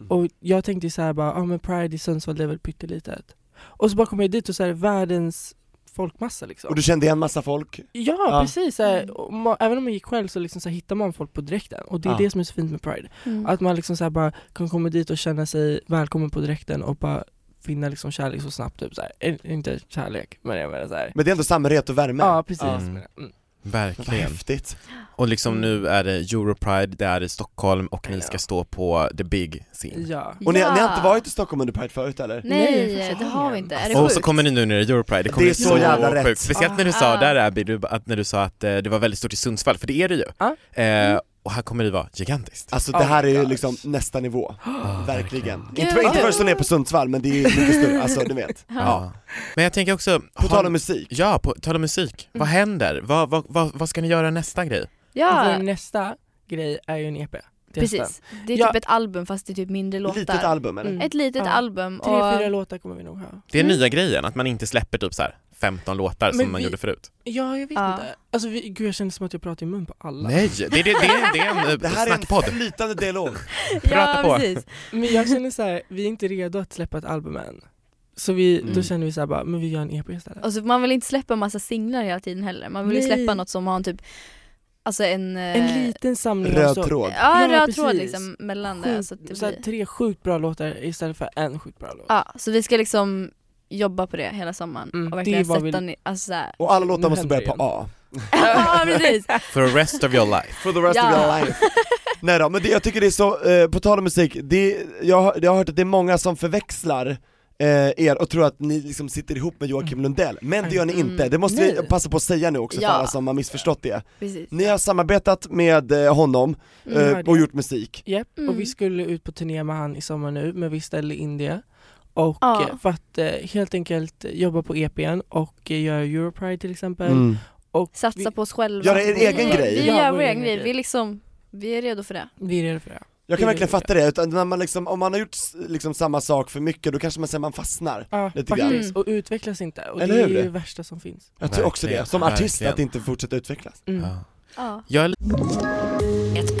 C: Mm.
B: Och jag tänkte ju så här bara, ja ah, men Pride i Sundsvall det är väl pyttelitet. Och så bara kom jag dit och så här världens folkmassa liksom.
C: Och du kände igen massa folk?
B: Ja,
C: Ja.
B: precis! Så här,
F: Mm.
B: och ma- även om man gick själv så, liksom så här, hittar man folk på direkten och det är
C: Ja.
B: det som är så fint med Pride.
F: Mm.
B: Att man liksom så här bara kan komma dit och känna sig välkommen på direkten och bara finna liksom kärlek så snabbt. Typ så här. Eh, Inte kärlek, men jag menar så här.
C: Men det är ändå samhörighet och värme?
B: Ja, precis.
C: Ja.
B: Mm. Mm.
C: Vad
D: Verkligen.
C: häftigt.
D: Och liksom
F: Mm.
D: nu är det Europride, det är i Stockholm och ni ska stå på the big scen.
B: Ja.
C: Och ni,
F: Ja.
C: ni har inte varit i Stockholm under Pride förut eller?
F: Nej,
B: Nej,
F: det har vi inte. Är det
D: Och
F: sjukt?
D: så kommer ni nu när det är Europride, det kommer
C: Det är
D: bli
C: så jävla rätt.
D: sjukt. Speciellt när du
F: Ah.
D: sa där Abby, du, att, när du sa att eh, det var väldigt stort i Sundsvall, för det är det ju.
B: Ja.
F: Ah.
D: Eh, och här kommer det vara gigantiskt.
C: Alltså
B: Oh
C: det här är ju
B: gosh.
C: liksom nästa nivå,
D: Ah,
C: verkligen. Inte,
F: Gud,
C: inte
F: vad
C: för
F: kul.
C: att slå ner på Sundsvall men det är ju mycket större, alltså du vet.
D: Ja. Men jag tänker också,
C: På tal
D: har-
C: om musik,
D: ja, på tal om musik, vad händer? Vad, vad, vad, vad ska ni göra nästa grej?
F: Ja,
B: Vår Alltså, nästa grej är ju en E EP. till hösten.
F: precis. Det är
B: Ja.
F: typ ett album fast det är typ mindre låtar.
C: litet album eller?
B: Mm.
F: Ett litet
B: Ja.
F: album.
B: Tre,
F: och-
B: fyra låtar kommer vi nog ha.
D: Det är
F: Mm.
D: nya grejen, att man inte släpper typ så här 15 låtar som
B: Men
D: man
B: vi-
D: gjorde förut.
B: Ja, jag vet
F: Ja.
B: inte. Alltså vi, gud jag känner som att jag pratar i mun på alla.
D: Nej, det, det, det, är- det är en eh,
C: Det här är en
D: snackpodd.
C: flytande dialog.
D: Prata
F: ja,
D: på.
F: precis.
B: Men jag känner så här, vi är inte redo att släppa ett album än. Så vi,
C: Mm.
B: då känner vi så här bara, men vi gör en EP istället.
F: Och så man vill inte släppa massa singlar hela tiden heller. Man vill ju
B: Nej.
F: släppa något som har en typ, alltså en... eh,
B: En liten samling av
C: Röd
B: så-
C: tråd.
F: Ja, en
B: Ja,
F: röd tråd
B: precis.
F: liksom mellan det.
B: Sjukt,
F: Så, att det
B: så här,
F: blir...
B: tre sjukt bra låtar istället för en sjukt bra låt.
F: ja, så vi ska liksom jobba på det hela sommaren
B: Mm,
F: och
B: det
F: verkligen
B: är vad
F: sätta
B: vi-
F: ner, alltså såhär.
C: Och alla låtar
B: Nu
C: måste
B: händer
C: börja på
B: det
C: A.
F: ja precis!
D: For the rest of your life.
C: For the rest of
F: Ja.
C: your life. Nej då, men det, jag tycker det är så, eh, på tal om musik, det, jag, har- jag har hört att det är många som förväxlar eh, er och tror att ni liksom sitter ihop med Joakim Lundell, men det gör ni
F: Mm.
C: inte, det måste vi
B: Nej.
C: passa på att säga nu också
F: Ja.
C: för alla som har missförstått det.
F: precis.
B: Mm.
C: Ni har samarbetat med eh, honom
F: Mm.
C: eh,
B: hörde
C: och
B: jag.
C: gjort musik.
B: Japp,
F: Mm.
B: och vi skulle ut på turné med han i sommar nu men vi ställde in det. Och
F: Ja.
B: eh, för att eh, helt enkelt jobba på EPn och eh, göra Europride till exempel.
F: Mm.
C: Mm.
B: Och
F: Satsa
B: vi,
F: på oss själva.
C: Göra er
F: Vi-
C: egen grej.
F: Vi
B: Ja,
F: gör
B: vår
F: vår egen
B: egen
F: grej,
B: grej.
F: vi är liksom, vi är redo för det.
B: vi är redo för det.
C: Jag kan
B: Det-
C: verkligen fatta det, utan när man liksom, om man har gjort s- liksom samma sak för mycket då kanske man säger man fastnar
B: Ja,
C: Lite grann.
B: faktiskt.
F: Mm.
B: Och utvecklas inte. Och
C: Eller
B: det är
C: hur?
B: ju det värsta som finns.
C: Jag tror också
D: Verkligen,
C: det, som artist
D: verkligen.
C: att inte fortsätta utvecklas
B: Mm.
D: Ja.
F: Ja.
D: Jag är
A: Ett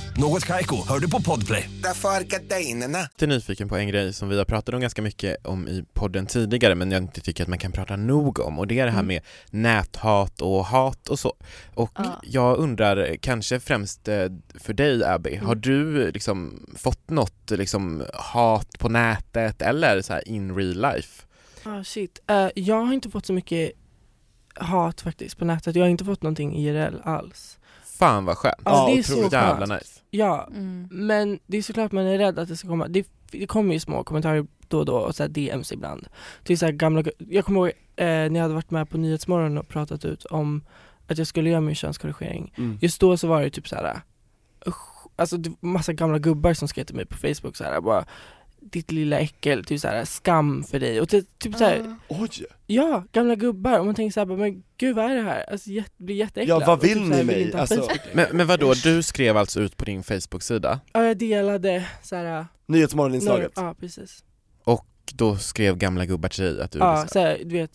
G: Något Kaiko, hör du på Podplay.
H: Därför är gardinerna.
D: lite nyfiken på en grej som vi har pratat om ganska mycket om i podden tidigare men jag inte tycker att man kan prata nog om och det är det
B: Mm.
D: här med näthat och hat och så. Och
F: Ja.
D: jag undrar, kanske främst eh, för dig Abby, har
B: Mm.
D: du liksom fått något liksom, hat på nätet eller så här in real life?
B: Ah, shit. Eh, jag har inte fått så mycket hat faktiskt på nätet. Jag har inte fått någonting IRL alls.
D: Fan vad skönt!
B: Ja,
C: Ja,
B: det är så
C: otroligt.
D: Jävla
B: skönt.
D: nice.
B: Ja,
F: Mm.
B: men det är såklart man är rädd att det ska komma. Det, det kommer ju små kommentarer då och då och så här DMs ibland. Till så här gamla, jag kommer ihåg eh, när jag hade varit med på Nyhetsmorgon och pratat ut om att jag skulle göra min könskorrigering.
C: Mm.
B: Just då så var det typ så här, usch, alltså det var massa gamla gubbar som skrev till mig på Facebook så här bara ditt lilla äckel, typ så här skam för dig och typ, typ så här,
F: Mm.
C: Oj!
B: Ja, gamla gubbar. Och man tänker såhär, men gud vad är det här? Alltså jätte, blir jätteäcklad.
C: Ja, vad
B: Och typ
C: vill
B: så här,
C: ni mig?
B: inte ha
C: Alltså-
B: Facebook längre.
D: Men, men vadå, du skrev alltså ut på din Facebook-sida
B: Ja, jag delade såhär...
C: Nyhetsmorgoninslaget
B: Ja, precis.
D: och då skrev gamla gubbar till dig att du
B: Ja, såhär, du vet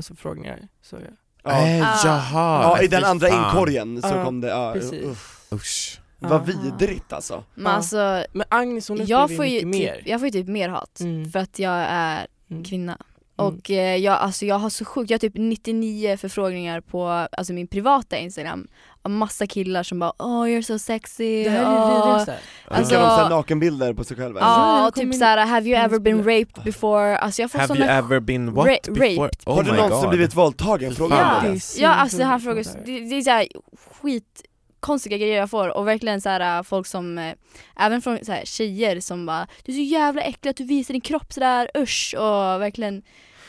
B: medlemsförfrågningar. Så jag.
C: Ja,
D: Eh,
F: Ah.
D: jaha!
C: ja i
D: Nej,
C: den
D: fy
C: andra
D: fan.
C: inkorgen så
B: Ja,
C: kom det, ja,
B: precis.
C: uff.
D: Usch.
C: Vad
F: Ah.
C: vidrigt alltså
F: Men
B: Ja.
F: alltså,
B: Men Agnes hon upplever
F: jag
B: ju
F: får, ju
B: mycket mer.
F: typ, jag får ju typ mer hat
B: Mm.
F: för att jag är
B: Mm.
F: kvinna.
B: Mm.
F: Och eh, jag, alltså, jag har så sjukt, jag har typ 99 förfrågningar på alltså, min privata instagram. Av massa killar som bara “Oh you're so sexy”,
B: Det här är ju
F: "Åh."
B: vidrigast.
F: Alltså-
C: Skickar de såhär nakenbilder på sig själva?
B: Ja,
F: Ja,
B: jag
F: och typ
B: kommer-
F: såhär “Have you ever been raped before?” Alltså jag får
D: Have you
F: såna
D: ever been what
F: Ra-
D: before?
F: raped.
D: Oh
C: har du
D: my
C: någonsin
D: God.
C: blivit våldtagen? Fråga
D: fan.
C: om
F: Ja,
C: det.
B: Det är så
F: ja alltså han
B: sjukt
F: frågar,
B: sånt där.
F: det, det är såhär skit konstiga grejer jag får och verkligen så här, äh, folk som, äh, även från så här, tjejer som bara Du är så jävla äcklig att du visar din kropp sådär, usch och verkligen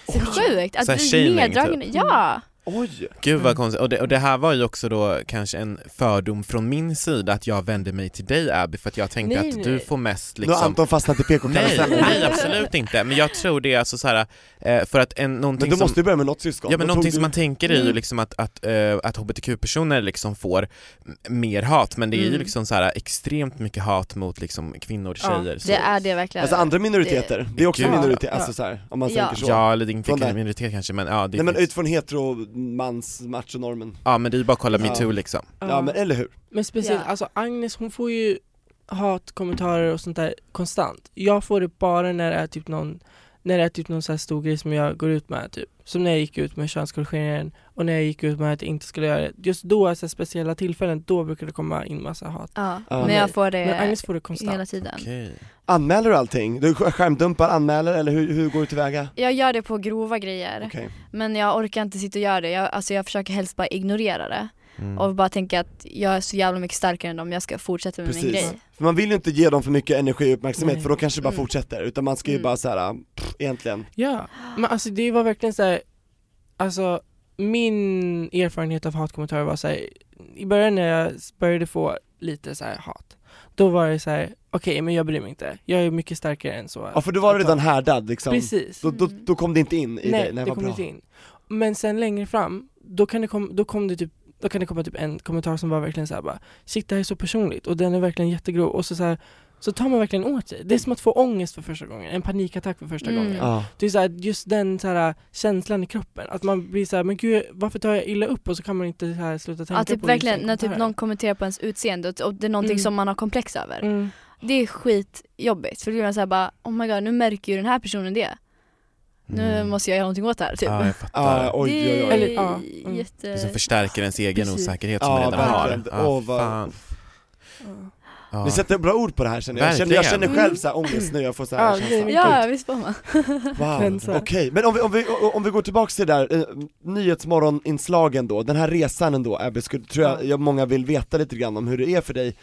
F: så sjukt att
D: Så här
F: du
D: shaming,
F: är neddragen,
D: typ.
F: ja!
C: Oj!
D: Gud vad konstigt, och det, och det här var ju också då kanske en fördom från min sida att jag vände mig till dig Abby för att jag tänkte
B: Nej,
D: att
B: nej.
D: du får mest
C: Nu har
D: liksom
C: Anton fastnat i
D: Nej,
C: PK-karusellen
D: nej absolut inte, men jag tror det är alltså så här, eh, för att en,
C: Men
D: någonting
C: du
D: som
C: måste ju börja med något syskon,
D: Ja men
C: Då tog
D: någonting som
C: du- Mm.
D: man tänker är ju liksom att, att, eh, att hbtq-personer liksom får m- mer hat, men det är ju
B: Mm.
D: liksom så här extremt mycket hat mot liksom kvinnor,
B: Ja,
D: tjejer så.
F: Det är det verkligen.
C: Alltså andra minoriteter, det, är också
D: Gud, ja.
C: minoriteter, alltså så här, om man
F: Ja.
C: tänker så
D: Ja, eller inte
C: Från där.
D: minoritet kanske men ja, det
C: Nej men
D: finns-
C: utifrån heteromans-machonormen,
D: ja men det är ju bara att kolla
C: Ja.
D: metoo liksom.
C: ja.
B: Ja.
C: men eller hur?
B: Men speciellt,
F: Ja.
B: alltså Agnes hon får ju hatkommentarer och sånt där konstant. Jag får det bara när det är typ någon, när det är typ någon så här stor grej som jag går ut med typ. Som när jag gick ut med könskorrigeringen och när jag gick ut med att jag inte skulle göra det. Just då, så här speciella tillfällen, då brukar det komma in massa hat.
F: ja,
C: Ja.
F: men jag får
B: Men
F: det
B: Agnes får det
F: hela
B: konstant.
F: tiden.
D: Okej.
C: Anmäler du allting? Du sk- skärmdumpar, anmäler eller hur, hur går du tillväga?
F: Jag gör det på grova grejer
C: Okej,
F: men jag orkar inte sitta och göra det, jag, alltså jag försöker helst bara ignorera det
D: Mm.
F: och bara tänka att jag är så jävla mycket starkare än dem, jag ska fortsätta med min
C: Precis.
F: grej.
C: för man vill ju inte ge dem för mycket energi och uppmärksamhet
B: Nej.
C: för då kanske det bara
F: Mm.
C: fortsätter, utan man ska ju
F: Mm.
C: bara så här, pff, egentligen
B: Ja, men alltså det var verkligen så här, alltså min erfarenhet av hatkommentarer var så här, i början när jag började få lite så här hat, då var det så här, okej men jag bryr mig inte, jag är mycket starkare än så.
C: Ja för då var du redan härdad liksom,
B: Precis.
C: då, då, då kom det inte in i
B: Nej,
C: dig, nej
B: det
C: vad
B: kom
C: bra
B: inte in. Men sen längre fram, då kan det, kom, då kom det typ då kan det komma typ en kommentar som var verkligen såhär bara Shit det här är så personligt och den är verkligen jättegrov och så, så, här, så tar man verkligen åt sig. Det är som att få ångest för första gången, en panikattack för första
F: Mm.
B: gången.
C: Ja,
B: Det är så här, just den så här, känslan i kroppen, att man blir så här, men gud varför tar jag illa upp och så kan man inte så här, sluta tänka
F: Ja typ
B: på liksom.
F: verkligen,
B: just den
F: när typ någon
B: kommentaren.
F: kommenterar på ens utseende och- och det är någonting
B: Mm.
F: som man har komplex över.
B: mm.
F: Det är skitjobbigt för då blir man såhär bara oh my god nu märker ju den här personen det. Nu
D: Mm. Ah,
F: måste jag göra någonting åt det här typ.
D: Ja, jag fattar.
C: ja Ah, oj oj
F: det
C: oj
F: är
B: Eller, ja, mm.
F: jätte...
D: Det som förstärker ens egen
B: Precis.
D: osäkerhet som
C: Ja,
D: man redan har.
C: verkligen.
D: Ja,
C: Åh, vad-
D: fan.
B: Ja.
D: Ja.
C: Ni sätter bra ord på det här känner jag, jag känner, jag
D: Verkligen.
C: känner själv så här ångest nu, jag får så här
B: Ja, det är
C: känsla.
B: mycket
F: Ja visst får man.
C: Wow, okej.
B: Klänsa.
C: Men om vi, om, vi, om vi går tillbaks till det där eh, nyhetsmorgoninslagen då, den här resan ändå Abby, skulle, tror jag,
B: Ja.
C: jag många vill veta lite grann om hur det är för dig,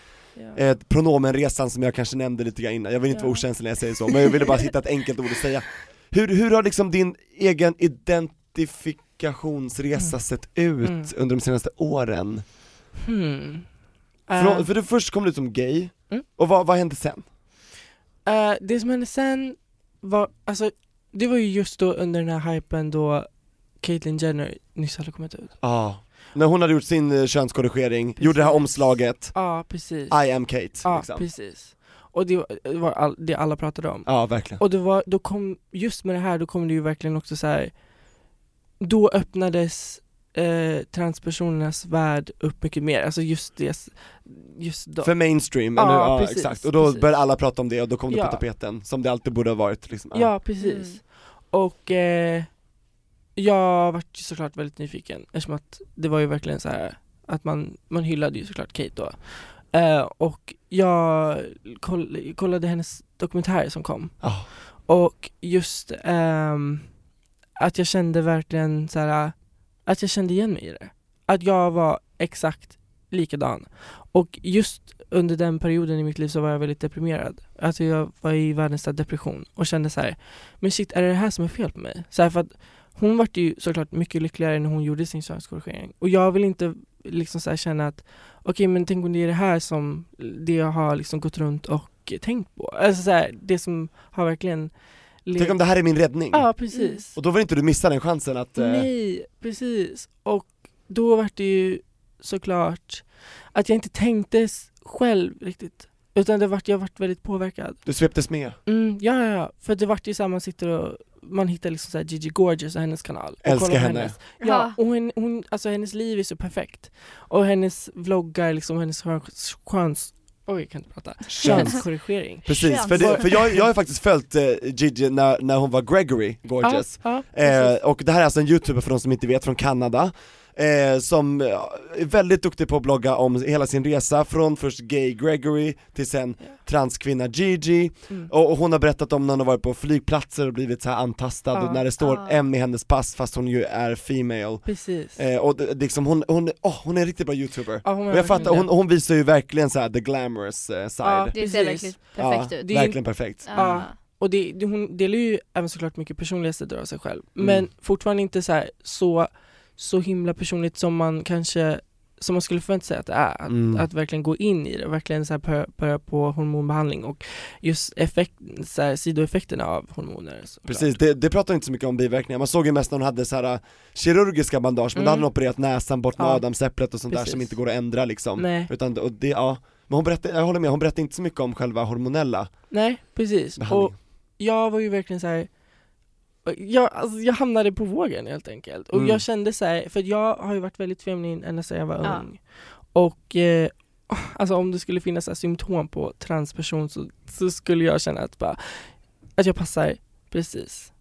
B: Ja.
C: eh, pronomenresan som jag kanske nämnde lite grann innan, jag vill inte
B: Ja.
C: vara okänslig när jag säger så, men jag ville bara hitta ett enkelt ord att säga Hur, hur har liksom din egen identifikationsresa sett ut
B: Mm.
C: under de senaste åren?
B: Hmm.
C: För,
B: Eh,
C: för det först kom du ut som gay,
B: Mm.
C: och vad, vad hände sen?
B: eh, det som hände sen var, alltså det var ju just då under den här hypen då Caitlyn Jenner nyss hade kommit ut.
C: Ja. När hon hade gjort sin eh, könskorrigering, gjorde det här omslaget,
B: Ja, precis.
C: I am Kate
B: Ja,
C: liksom.
B: precis. Och det var- det var all, det alla pratade om.
C: Ja verkligen.
B: Och det var, då kom, just med det här, då kom det ju verkligen också så här. då öppnades eh, transpersonernas värld upp mycket mer, alltså just det, just då.
C: För mainstream,
B: Ja,
C: eller, ja
B: precis,
C: exakt. Och då
B: precis.
C: började alla prata om det och då kom det
B: Ja.
C: på tapeten, som det alltid borde ha varit liksom.
B: Ja, precis.
F: Mm.
B: Och eh, jag vart ju såklart väldigt nyfiken eftersom att det var ju verkligen så här att man, man hyllade ju såklart Kate då. Eh, och jag koll, kollade hennes dokumentär som kom
C: Ja.
B: och just ehm, att jag kände verkligen så här att jag kände igen mig i det. Att jag var exakt likadan. Och just under den perioden i mitt liv så var jag väldigt deprimerad. Alltså jag var i världens största depression och kände så här, men shit är det det här som är fel på mig? Så här för att hon vart ju såklart mycket lyckligare när hon gjorde sin könskorrigering. Och jag vill inte liksom så här känna att okej men tänk om det är det här som det jag har liksom gått runt och tänkt på. Alltså så här, det som har verkligen levt-
C: Tänk om det här är min räddning?
B: Ja precis.
C: Och då vill inte du missa den chansen att, eh,
B: Nej, precis. Och då var det ju såklart att jag inte tänkte s- själv riktigt. Utan det vart, jag vart väldigt påverkad.
C: du sveptes med.
B: Mm, ja, ja, ja. För det vart ju så här, man sitter och man hittar liksom så här Gigi Gorgeous och hennes kanal. Och
C: Älskar
B: kollar på
C: henne.
B: Hennes,
F: Ja.
B: ja, och hon, hon, alltså hennes liv är så perfekt. Och hennes vloggar, liksom hennes chans... chans oj, jag kan inte prata. Könskorrigering.
C: Precis, för, det, för jag, jag har faktiskt följt eh, Gigi när, när hon var Gregory Gorgeous
B: Ja, ja,
C: eh,
B: precis.
C: Och det här är alltså en youtuber för de som inte vet, från Kanada eh, Som eh, är väldigt duktig på att blogga om hela sin resa från först gay Gregory till sen transkvinna Gigi
B: Mm.
C: och, och hon har berättat om när hon har varit på flygplatser och blivit så här antastad
B: Ja.
C: och när det står
F: Ah.
C: M i hennes pass fast hon ju är female
B: Precis.
C: eh, Och det, liksom hon, hon, åh, hon är en riktigt bra youtuber
B: Ja, hon
C: Och jag fattar, hon, hon visar ju verkligen så här the glamorous eh, side
B: Ja,
F: Det ser
B: Precis.
F: verkligen perfekt
C: ja,
F: ut.
B: Det är-
C: verkligen perfekt
B: Ja. Och det, det, hon delar ju även såklart mycket personliga sidor av sig själv.
C: Mm.
B: Men fortfarande inte så, här, så, så himla personligt som man kanske som man skulle förvänta sig att det är. Att,
C: Mm.
B: att verkligen gå in i det, verkligen så här börja, börja på hormonbehandling och just effekt, så här, sidoeffekterna av hormoner. såklart.
C: Precis, det, det pratar inte så mycket om biverkningar, man såg ju mest när hon hade så här äh, kirurgiska bandage, men
B: Mm.
C: då hade hon opererat näsan bort med
B: Ja.
C: adamsäpplet och sånt där
B: Precis.
C: som inte går att ändra liksom
B: Nej,
C: Utan, och det, ja, men hon berättade, jag håller med, hon berättade inte så mycket om själva hormonella
B: nej precis. Och
C: behandlingen
B: jag var ju verkligen så här. Jag, alltså, jag hamnade på vågen helt enkelt. Och
C: Mm.
B: jag kände så här, för jag har ju varit väldigt feminin ända sedan jag var
F: Ja.
B: ung. Och eh, alltså om det skulle finnas så här, symptom på transperson så, så skulle jag känna att, bara, att jag passar precis.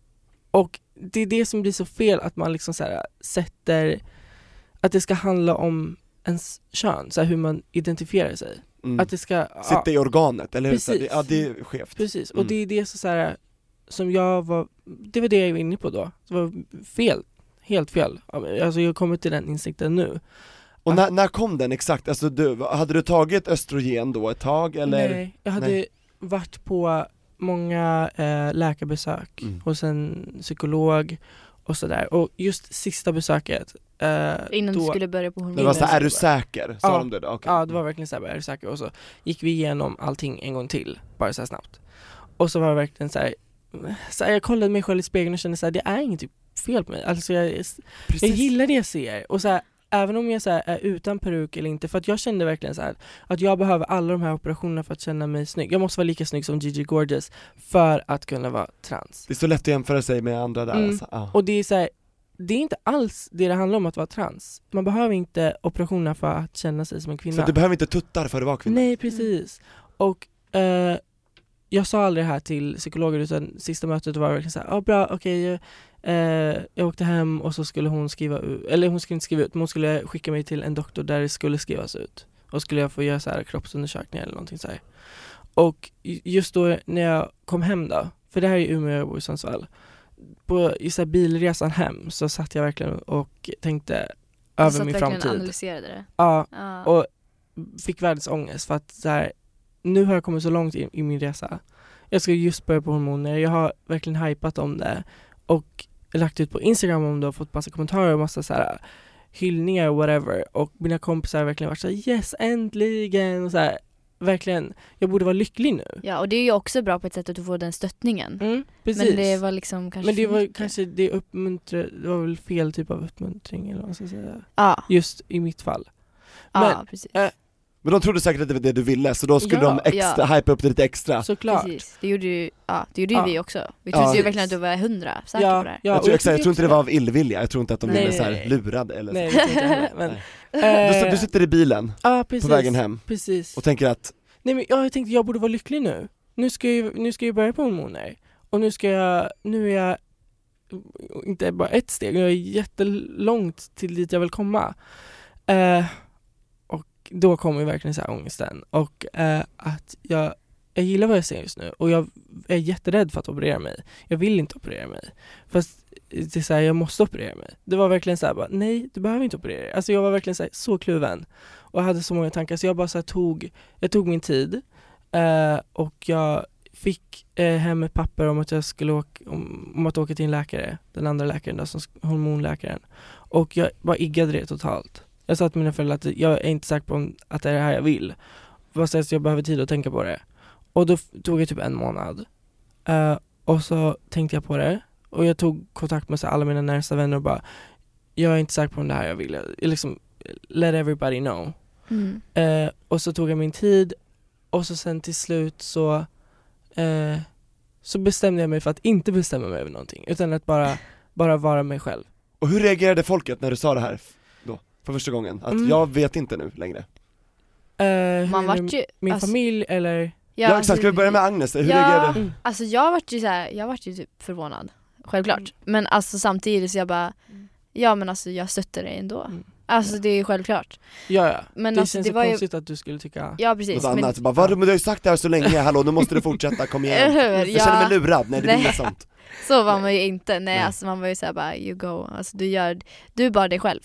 B: Och det är det som blir så fel, att man liksom så här, sätter, att det ska handla om ens kön, så här, hur man identifierar sig.
C: mm.
B: Att det ska... ja.
C: Sitta i organet, eller hur? Så här,
B: Precis.
C: det- Ja det är skevt
B: Precis, och
C: Mm.
B: det är det så, så här, som jag var, det var det jag var inne på då. Det var fel, helt fel. Alltså jag har kommit till den insikten nu.
C: Och när, när kom den exakt? Alltså du, hade du tagit östrogen då ett tag eller?
B: Nej, jag hade
C: Nej.
B: varit på många eh, läkarbesök
C: Mm.
B: hos en psykolog och sådär. Och just sista besöket, eh,
F: Innan du
B: då-
F: skulle börja på
C: Det var
F: hormoner.
C: såhär, är du säker? Sa
B: Ja.
C: de det då? Okej.
B: Ja det var verkligen så här, bara, är du säker? Och så gick vi igenom allting en gång till, bara så här snabbt. Och så var det verkligen så här, så här jag kollade mig själv i spegeln och kände så här, det är inget typ fel på mig. Alltså jag, jag
C: Precis.
B: gillar det jag ser. Och så här, även om jag så här, är utan peruk eller inte, för att jag kände verkligen så här, att jag behöver alla de här operationerna för att känna mig snygg. Jag måste vara lika snygg som Gigi Gorgeous för att kunna vara trans.
C: Det är så lätt att jämföra sig med andra där
B: Mm.
C: alltså. ja.
B: Och det är så här, det är inte alls det det handlar om att vara trans. Man behöver inte operationer för att känna sig som en kvinna.
C: Så du behöver inte tuttar för att vara kvinna?
B: Nej precis. Och eh, jag sa aldrig det här till psykologen utan sista mötet var verkligen såhär, ja ah, bra okej, eh, jag åkte hem och så skulle hon skriva ut, eller hon skulle inte skriva ut men hon skulle skicka mig till en doktor där det skulle skrivas ut. Och skulle jag få göra så här kroppsundersökningar eller någonting så här. Och ju- just då när jag kom hem då, för det här är ju Umeå, jag bor i Sundsvall. På i så här bilresan hem så satt jag verkligen och tänkte över min
F: Så att verkligen
B: framtid.
F: analyserade det.
B: Ja,
F: Ja.
B: Och- fick världens ångest för att så här, nu har jag kommit så långt i, i min resa. Jag ska just börja på hormoner, jag har verkligen hypat om det och lagt ut på Instagram om det och fått massa kommentarer och massa så här hyllningar och whatever och mina kompisar har verkligen varit så här, yes äntligen och så här, verkligen, jag borde vara lycklig nu.
F: Ja och det är ju också bra på ett sätt att du får den stöttningen.
B: Mm, precis.
F: Men det var liksom kanske
B: Men det
F: för
B: var
F: mycket.
B: kanske det uppmuntra, det var väl fel typ av uppmuntring eller vad man ska säga.
F: Ja,
B: Just i mitt fall.
F: ja precis.
C: Men de trodde säkert att det var det du ville, så då skulle
B: Ja,
C: de extra,
F: ja.
C: hypa upp det lite extra.
B: Såklart.
F: Precis. Det gjorde ju, ja, det gjorde ju
B: Ja.
F: vi också. Vi
C: Ja.
F: trodde ju verkligen att du var hundra säker på det här.
C: jag,
B: och
C: tror, exakt, jag tror inte det var
B: också
C: av illvilja, jag tror inte att de
B: Nej,
C: ville
B: nej,
C: så här
B: nej.
C: lurad eller
B: Nej,
C: så.
B: det tror jag inte heller, men...
C: Du,
B: eh,
C: s- du sitter i bilen
B: ja, precis,
C: på vägen hem
B: Precis.
C: och tänker att,
B: Nej men ja, jag tänkte jag borde vara lycklig nu. Nu ska jag, ju- nu ska jag börja på hormoner. Och nu ska jag, nu är jag eh, inte bara ett steg, jag är jättelångt till dit jag vill komma. Eh, och då kommer ju verkligen så här ångesten och eh, att jag, jag gillar vad jag ser just nu och jag är jätterädd för att operera mig. Jag vill inte operera mig. Fast eh, det är så här, jag måste operera mig. Det var verkligen så här, bara, nej du behöver inte operera dig. Alltså jag var verkligen så, här, så kluven och jag hade så många tankar så jag bara så här, tog jag tog min tid eh, och jag fick eh, hem ett papper om att jag skulle åka, om, om att åka till en läkare, den andra läkaren då, som, sk- hormonläkaren. Och jag bara iggade det totalt. Jag sa till mina föräldrar att jag är inte säker på om, att det är det här jag vill. Fast alltså, jag behöver tid att tänka på det. Och då f- tog jag typ en månad. Eh, och så tänkte jag på det och jag tog kontakt med så här, alla mina närmsta vänner och bara jag är inte säker på om det här jag vill. Jag, liksom, let everybody know.
F: Mm.
B: Eh, och så tog jag min tid och så sen till slut så, eh, så bestämde jag mig för att inte bestämma mig över någonting utan att bara, bara vara mig själv.
C: och hur reagerade folket när du sa det här f- då, för första gången? Att
B: Mm.
C: jag vet inte nu längre.
B: Eh, hur
F: Man
B: är det
F: vart ju,
B: min
F: alltså-
B: familj eller?
C: Ja, exakt, ska vi börja med Agnes? Hur
F: Ja.
C: reagerade
B: Mm.
F: Alltså jag vart ju så här, jag vart ju typ förvånad. Självklart.
B: Mm.
F: Men alltså samtidigt så jag bara, ja men alltså jag stöttar dig ändå.
B: Mm.
F: Alltså det är ju självklart.
B: Ja, ja.
F: Men
B: det
F: alltså
B: känns
F: det
B: så
F: var ju,
B: konstigt att du skulle tycka
F: ja precis.
C: något
F: men-
C: annat? Bara, Vad, men du har ju sagt det här så länge, hallå nu måste du fortsätta, kom
F: Eller
C: igen.
F: hur?
C: Jag känner mig
F: Ja,
C: lurad, nej det är
F: Nej.
C: inget sånt.
F: så var man ju inte. Nej,
C: Nej.
F: alltså man var ju såhär bara you go, alltså du gör, du är bara dig själv.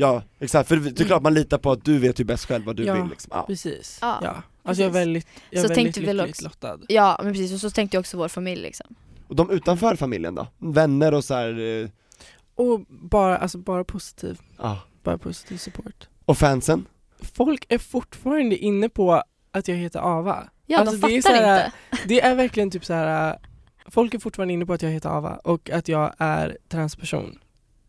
C: Ja, exakt, för det är klart man litar på att du vet ju bäst själv vad du
B: Ja.
C: vill liksom. Ja.
B: precis.
F: Ja,
B: ja. Alltså jag är
F: precis.
B: väldigt, jag är
F: Så
B: väldigt
F: tänkte vi väl
B: lyckligt
F: också-
B: lottad.
F: Ja men precis och så tänkte jag också vår familj liksom.
C: Och de utanför familjen då? Vänner och så här, eh,
B: Och bara, alltså bara positiv,
C: ja.
B: bara positiv support.
C: Och fansen?
B: Folk är fortfarande inne på att jag heter Ava.
F: Ja
B: Alltså,
F: de
B: det är
F: fattar
B: ju så här-
F: inte.
B: Det är verkligen typ så här. äh, folk är fortfarande inne på att jag heter Ava och att jag är transperson.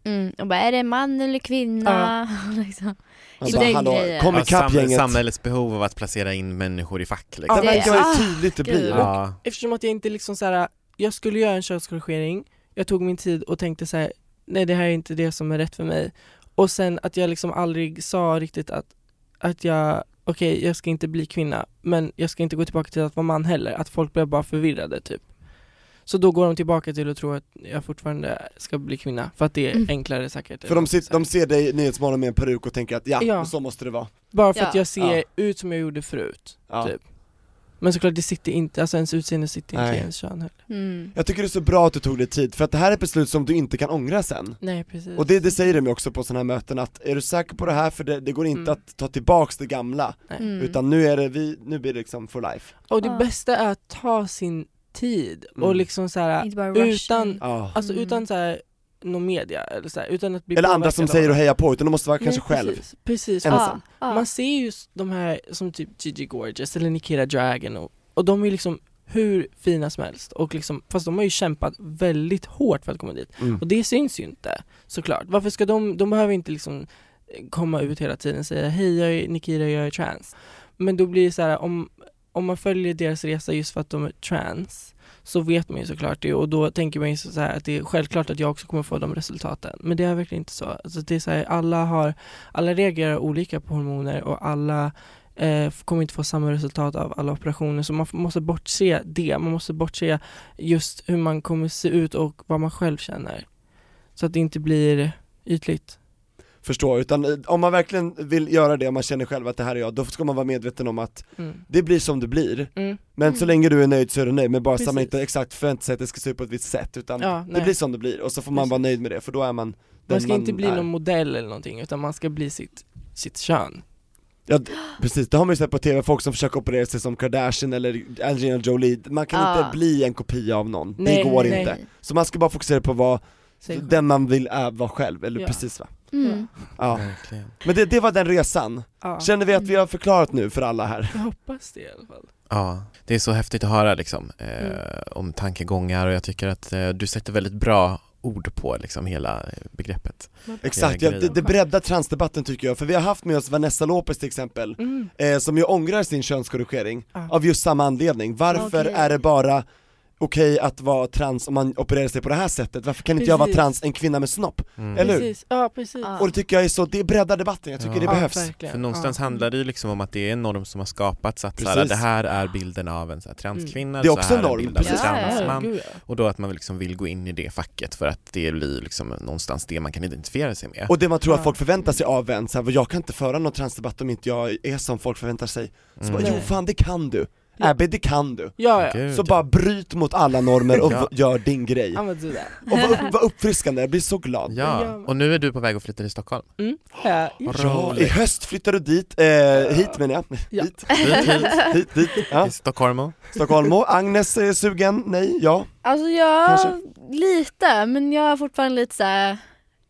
F: Mm, och bara är det man eller kvinna? liksom.
C: Man
F: I
C: bara,
F: den
C: hallå,
F: grejen.
C: kom
D: Ja,
C: ikapp
D: sam-
C: gänget.
D: samhällets behov av att placera in människor i fack liksom.
C: Det
B: Det-
C: märker man
F: ah,
C: ju tydligt det
F: gud.
C: blir.
D: Ja.
B: Eftersom att jag inte liksom så här. äh, jag skulle göra en könskorrigering, jag tog min tid och tänkte så här: nej det här är inte det som är rätt för mig. Och sen att jag liksom aldrig sa riktigt att, att jag, okej jag ska inte bli kvinna, men jag ska inte gå tillbaka till att vara man heller. Att folk blev bara förvirrade typ. Så då går de tillbaka till att tro att jag fortfarande ska bli kvinna, för att det är
F: Mm.
B: enklare säkert.
C: För de, sit,
B: Så här.
C: de ser dig i Nyhetsmorgon med en peruk och tänker att ja,
B: Ja.
C: så måste det vara.
B: Bara för
F: Ja.
B: att jag ser
C: Ja.
B: ut som jag gjorde förut.
C: Ja.
B: Typ. Men såklart det sitter inte, alltså ens utseende sitter inte
C: Nej.
B: i ens kön heller.
F: Mm.
C: Jag tycker det är så bra att du tog dig tid, för att det här är ett beslut som du inte kan ångra sen.
B: Nej precis.
C: Och det, det säger de ju också på sådana här möten att, är du säker på det här? För det, det går inte
B: Mm.
C: att ta tillbaks det gamla,
F: Mm.
C: utan nu är det vi, nu blir det liksom for life.
B: och det
F: Ja.
B: bästa är att ta sin tid
C: Mm.
B: och liksom såhär,
F: Inte bara
B: utan-
F: rush in.
C: Ja.
B: alltså
F: Mm.
B: utan såhär någon media eller såhär, utan att bli
C: Eller andra som
B: påverkad av-
C: säger och hejar på, utan de måste vara
B: Nej,
C: kanske själv.
B: Precis, precis.
C: Ensam.
B: Alltså,
F: Ja,
B: Man ser ju s- de här som typ Gigi Gorgeous eller Nikita Dragon och, och de är liksom hur fina som helst och liksom, fast de har ju kämpat väldigt hårt för att komma dit.
C: Mm.
B: Och det syns ju inte såklart. Varför ska de, de behöver inte liksom komma ut hela tiden och säga hej jag är Nikita, jag är trans. Men då blir det så här om, om man följer deras resa just för att de är trans så vet man ju såklart det och då tänker man ju så här att det är självklart att jag också kommer få de resultaten. Men det är verkligen inte så. Alltså det är så här, alla, har, alla reagerar olika på hormoner och alla eh, kommer inte få samma resultat av alla operationer så man f- måste bortse det. Man måste bortse just hur man kommer se ut och vad man själv känner. Så att det inte blir ytligt.
C: Förstår, utan eh, om man verkligen vill göra det, om man känner själv att det här är jag, då ska man vara medveten om att
B: Mm.
C: det blir som det blir.
B: Mm.
C: Men så
F: Mm.
C: länge du är nöjd så är du nöjd, men bara så att man
B: Precis.
C: inte exakt förväntar sig att det ska se ut på ett visst sätt, utan
B: Ja,
C: Det
B: nej.
C: blir som det blir och så får man
B: Precis.
C: vara nöjd med det för då är man den
B: man ska inte bli
C: är.
B: någon modell eller någonting utan man ska bli sitt, sitt kön.
C: Ja, d- precis, det har man ju sett på TV, folk som försöker operera sig som Kardashian eller Angelina Jolie, man kan
F: Ja.
C: inte bli en kopia av någon,
B: Ah. Nej,
C: det går
B: nej.
C: inte. Så man ska bara fokusera på vad,
B: Sig själv.
C: den man vill är, vara själv, eller
B: Ja.
C: precis va?
F: Mm.
C: Ja.
D: Verkligen.
C: Men det, det var den resan,
B: Ja. Mm.
C: känner vi att vi har förklarat nu för alla här?
B: Jag hoppas det i alla fall.
D: Ja, det är så häftigt att höra liksom, eh,
B: Mm.
D: om tankegångar och jag tycker att eh, du sätter väldigt bra ord på liksom, hela eh, begreppet.
C: Exakt, ja,
D: Hela
C: det,
D: grejen.
C: det breddar transdebatten tycker jag, för vi har haft med oss Vanessa Lopez till exempel,
B: Mm.
C: eh, som ju ångrar sin könskorrigering
B: Ja.
C: av just samma anledning. Varför
F: Okej.
C: är det bara okej att vara trans om man opererar sig på det här sättet? Varför kan inte jag vara
B: Precis.
C: trans, en kvinna med snopp?
D: Mm.
C: Eller hur?
B: Precis. Ja, precis.
F: Ja.
C: Och det tycker jag är så, det breddar debatten, jag tycker
D: Ja.
C: det
D: Ja,
C: behövs.
B: verkligen.
D: För någonstans
B: Ja.
D: handlar det ju liksom om att det är en norm som har skapats, att
C: Precis. Mm.
D: såhär, det här är bilden av en såhär, transkvinna,
C: Det är också
D: så här
C: en norm,
D: bild av en
F: precis.
B: Ja,
D: transman.
B: gud, ja.
D: Och då att man liksom vill gå in i det facket för att det blir liksom någonstans det man kan identifiera sig med.
C: Och det man tror att
B: Ja.
C: folk förväntar sig av en, så här, jag kan inte föra någon transdebatt om inte jag är som folk förväntar sig. Så
D: Mm.
C: bara, jo
B: Mm. Nej.
C: fan det kan du,
B: Ja.
C: Abbe det kan du.
B: Ja, ja.
D: Gud.
C: Så bara bryt mot alla normer och
D: Ja.
C: gör din grej.
B: I'm gonna do that.
C: Och vad, upp, vad uppfriskande, jag blir så glad.
D: Ja, och nu är du på väg att flytta till Stockholm.
B: Mm. Ja, ja.
C: Ja, I
D: Roligt.
C: höst flyttar du dit, eh, hit menar jag,
B: Ja.
C: hit,
D: Hit, hit,
C: hit, dit, ja.
D: till Stockholm.
C: Stockholm, Agnes är sugen, nej, ja.
F: Alltså jag,
C: Kanske.
F: lite, men jag är fortfarande lite såhär,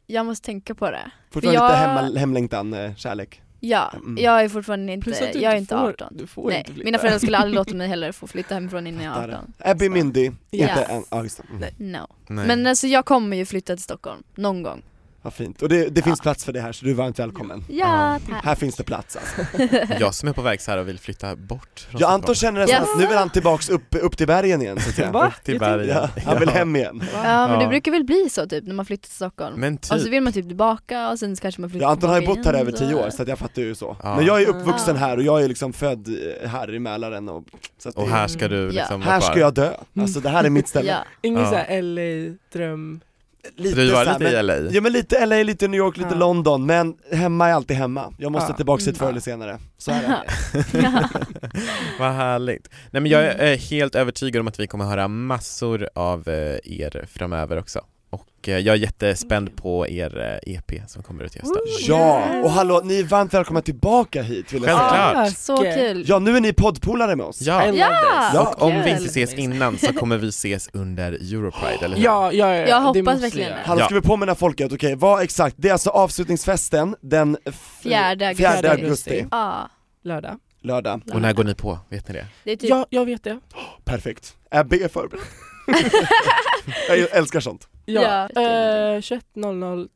F: jag måste tänka på det.
C: Fortfarande
F: jag-
C: lite hemma, hemlängtan, eh, kärlek.
F: Ja,
C: Mm.
F: jag är fortfarande inte,
B: Plus att du
F: jag är
B: inte
F: inte
B: får,
F: 18.
B: Du får
F: Nej,
B: inte flytta.
F: mina föräldrar skulle aldrig låta mig heller få flytta hemifrån innan jag är 18.
C: Abby Mindy,
B: Ja.
C: inte en, ja, just det. Mm.
F: No.
D: Nej.
F: Men alltså jag kommer ju flytta till Stockholm, någon gång.
C: Vad fint, och det, det finns plats för det här så du är varmt välkommen.
F: Ja, tack.
C: Här finns det plats alltså.
D: Jag som är på väg så här och vill flytta bort från
C: Ja Anton
D: Stockholm.
C: känner nästan
F: Yes.
C: att nu är han tillbaks upp, upp till bergen igen så att säga.
B: Va?
D: till
B: Jag tänkte-
D: bergen.
C: Ja, han vill hem igen.
F: Ja men det
D: Ja.
F: brukar väl bli så typ när man flyttar till Stockholm.
D: Men
F: Och så
D: typ.
F: vill man typ tillbaka och sen kanske man flyttar
C: Ja, Anton har ju
F: tillbaka
C: bott här
F: igen,
C: över
F: så-
C: tio år så att jag fattar ju så.
D: Ja.
C: Men jag är uppvuxen här och jag är liksom född eh, här i Mälaren och, så att
D: Och
C: det-
D: här ska du
F: Mm, Ja.
D: liksom
C: här
D: vara
C: ska
D: kvar.
C: jag dö. Alltså det här är mitt ställe.
F: Ja.
B: Ingen
D: Ja.
B: så här LA-dröm.
C: Lite
D: Du var
C: så här,
D: lite i
C: men-
D: LA.
C: Ja men lite LA, lite New York, lite
B: Ja.
C: London, men hemma är alltid hemma. Jag måste
B: Ja.
C: tillbaks hit
F: Mm.
C: förr eller senare. Så är det.
D: Vad härligt. Nej men jag är eh, helt övertygad om att vi kommer höra massor av eh, er framöver också. Och eh, jag är
F: Mm.
D: jättespänd på er eh, EP som kommer ut i hösten.
C: Ja, och hallå, ni är varmt välkomna tillbaka hit vill jag säga.
D: Självklart.
F: Så
B: Okej.
F: kul!
C: Ja, nu är ni poddpolare med oss.
B: I
D: Ja,
B: love this.
C: Ja.
D: och om vi inte
F: kul.
D: ses innan så kommer vi ses under Europride, eller hur?
B: Ja, ja, ja,
F: Jag
B: det
F: hoppas
B: måste
F: verkligen
B: jag göra.
F: det.
C: Hallå
D: Ja.
C: ska vi påminna folket, okej vad exakt, det är alltså avslutningsfesten den f-
F: Fjärde augusti.
C: fjärde augusti,
F: Ja,
B: Lördag.
C: lördag.
D: Och när går ni på? Vet ni det?
F: det är typ
B: Ja, jag vet det.
C: Perfekt. Abbe är förberedd. jag älskar sånt.
B: Ja.
F: Ja.
B: Eh, 21.00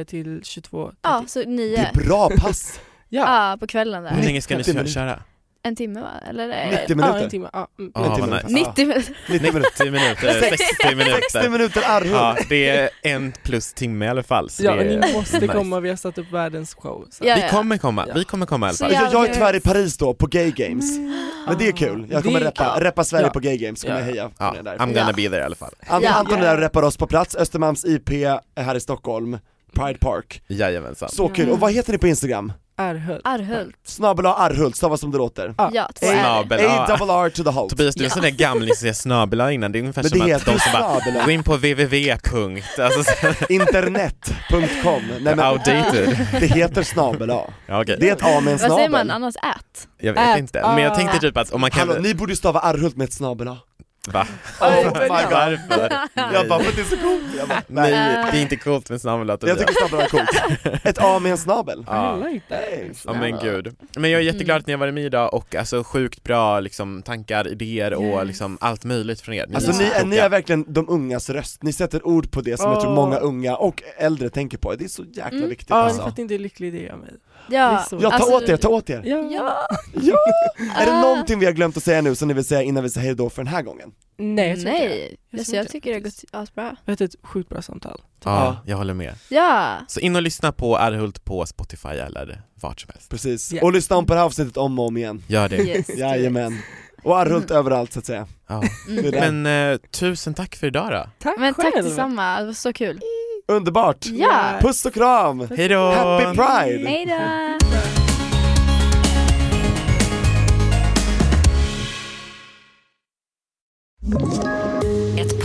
B: eh, till 22.30.
F: Ja, så nio.
C: Det är bra pass.
B: Ja,
F: Ja, på kvällen
D: Hur
F: där.
D: länge ska ni
C: 90 minuter.
D: köra?
F: En timme va? Eller?
C: 90
F: eh,
B: ja en
C: minuter.
B: timme. Ja, mm.
D: Ja, vad
C: 90
D: nice.
C: minuter.
F: 90
C: Ja,
F: minuter.
C: 90 minuter.
D: 10 minuter, 60
C: 60
D: minuter.
C: minuter arrhull.
D: Ja, det är en plus timme i alla fall. Så
B: ja och
D: Alltså, det
B: ni
D: är...
B: måste
D: nice.
B: komma, vi har satt upp världens show. Så.
F: Ja,
D: Vi
F: ja.
D: kommer komma, vi kommer komma i alla
F: Så
D: fall.
C: Jag, jag är
F: Ja.
C: tyvärr i Paris då, på Gay Games. Men det är kul, jag kommer
B: Det är
C: reppa,
F: kul.
C: reppa Sverige
B: Ja.
C: på Gay Games, kommer jag heja
D: Ja,
C: från er
D: I'm
C: där.
D: gonna
F: Ja.
D: be there i alla fall.
C: Ant-
F: Ja.
C: Anton är där och reppar oss på plats, Östermalms IP är här i Stockholm, Pride Park.
D: Jajamensan.
C: Så kul, och vad heter ni på Instagram?
B: Arhult.
F: Arhult.
C: Snabel A Arhult, stavas som det låter.
B: Ja.
F: Ja, två R.
D: Snabel
C: A
D: A.
C: double R to the halt.
D: Tobias, du är en
F: Ja.
D: sån där gamling som säger snabel-a innan, det är ungefär
C: Men
D: som
C: det
D: att
C: heter
D: de
C: ju
D: som bara
C: snabel-a.
D: gå in på www. punkt", Alltså, så-
C: Internet.com, nej men
D: outdated.
C: det heter snabel A.
D: Ja, okej.
C: Det är ett A med en
F: Vad säger man
C: snabel.
F: annars? Ät?
D: Jag vet
B: Ät.
D: inte, men jag
B: Ah.
D: tänkte typ att om man kan...
C: Hallå, ni borde ju stava Arhult med ett snabel A.
D: Va?
C: Oh
B: my God.
D: Varför?
C: Jag bara, för att det är så coolt. Jag bara,
D: Nej,
C: nej.
D: det är inte coolt med snabel-a
C: Jag
D: Tobias.
C: tycker snabel A är coolt. Ett A med en snabel.
D: Ja.
B: I like that.
D: Ja men gud. Men
C: Mm.
D: jag är jätteglad att ni har varit med idag och alltså sjukt bra liksom, tankar, idéer och liksom, allt möjligt från er.
C: Alltså
D: så
C: ni,
D: kloka.
C: ni är verkligen de ungas röst, ni sätter ord på det som jag tror
B: Åh.
C: många unga och äldre tänker på, det är så jäkla
F: Mm.
C: viktigt
B: Ja, ni
C: alltså.
B: fattar inte hur lycklig det gör mig. Det är
F: Ja.
B: så-
C: Ja, ta
F: Alltså,
C: åt er, ta åt er!
B: Ja.
F: Ja.
C: Ja! Är det
F: Ah.
C: någonting vi har glömt att säga nu som ni vill säga innan vi säger hejdå för den här gången?
B: Nej, jag tror inte det.
F: Nej,
B: Jag
F: alltså,
B: tror
F: jag
B: inte
F: tycker det har gått asbra.
B: Vi har haft ett sjukt bra samtal.
D: Ja, jag håller med.
F: Ja.
D: Så in och lyssna på Arhult på Spotify eller vart som helst.
C: Precis,
B: Ja.
C: och lyssna om på det här avsnittet om och om igen.
D: Gör det.
F: Yes.
C: Jajamän. Och Arhult överallt så att säga.
D: Ja.
C: Det är där.
D: Men eh, tusen tack för idag då.
B: Tack
F: Men tack
B: själv.
F: detsamma, det var så kul.
C: Underbart!
F: Ja.
C: Puss och kram!
D: Hej då!
C: Happy Pride!
F: Hejdå!
A: Ett podd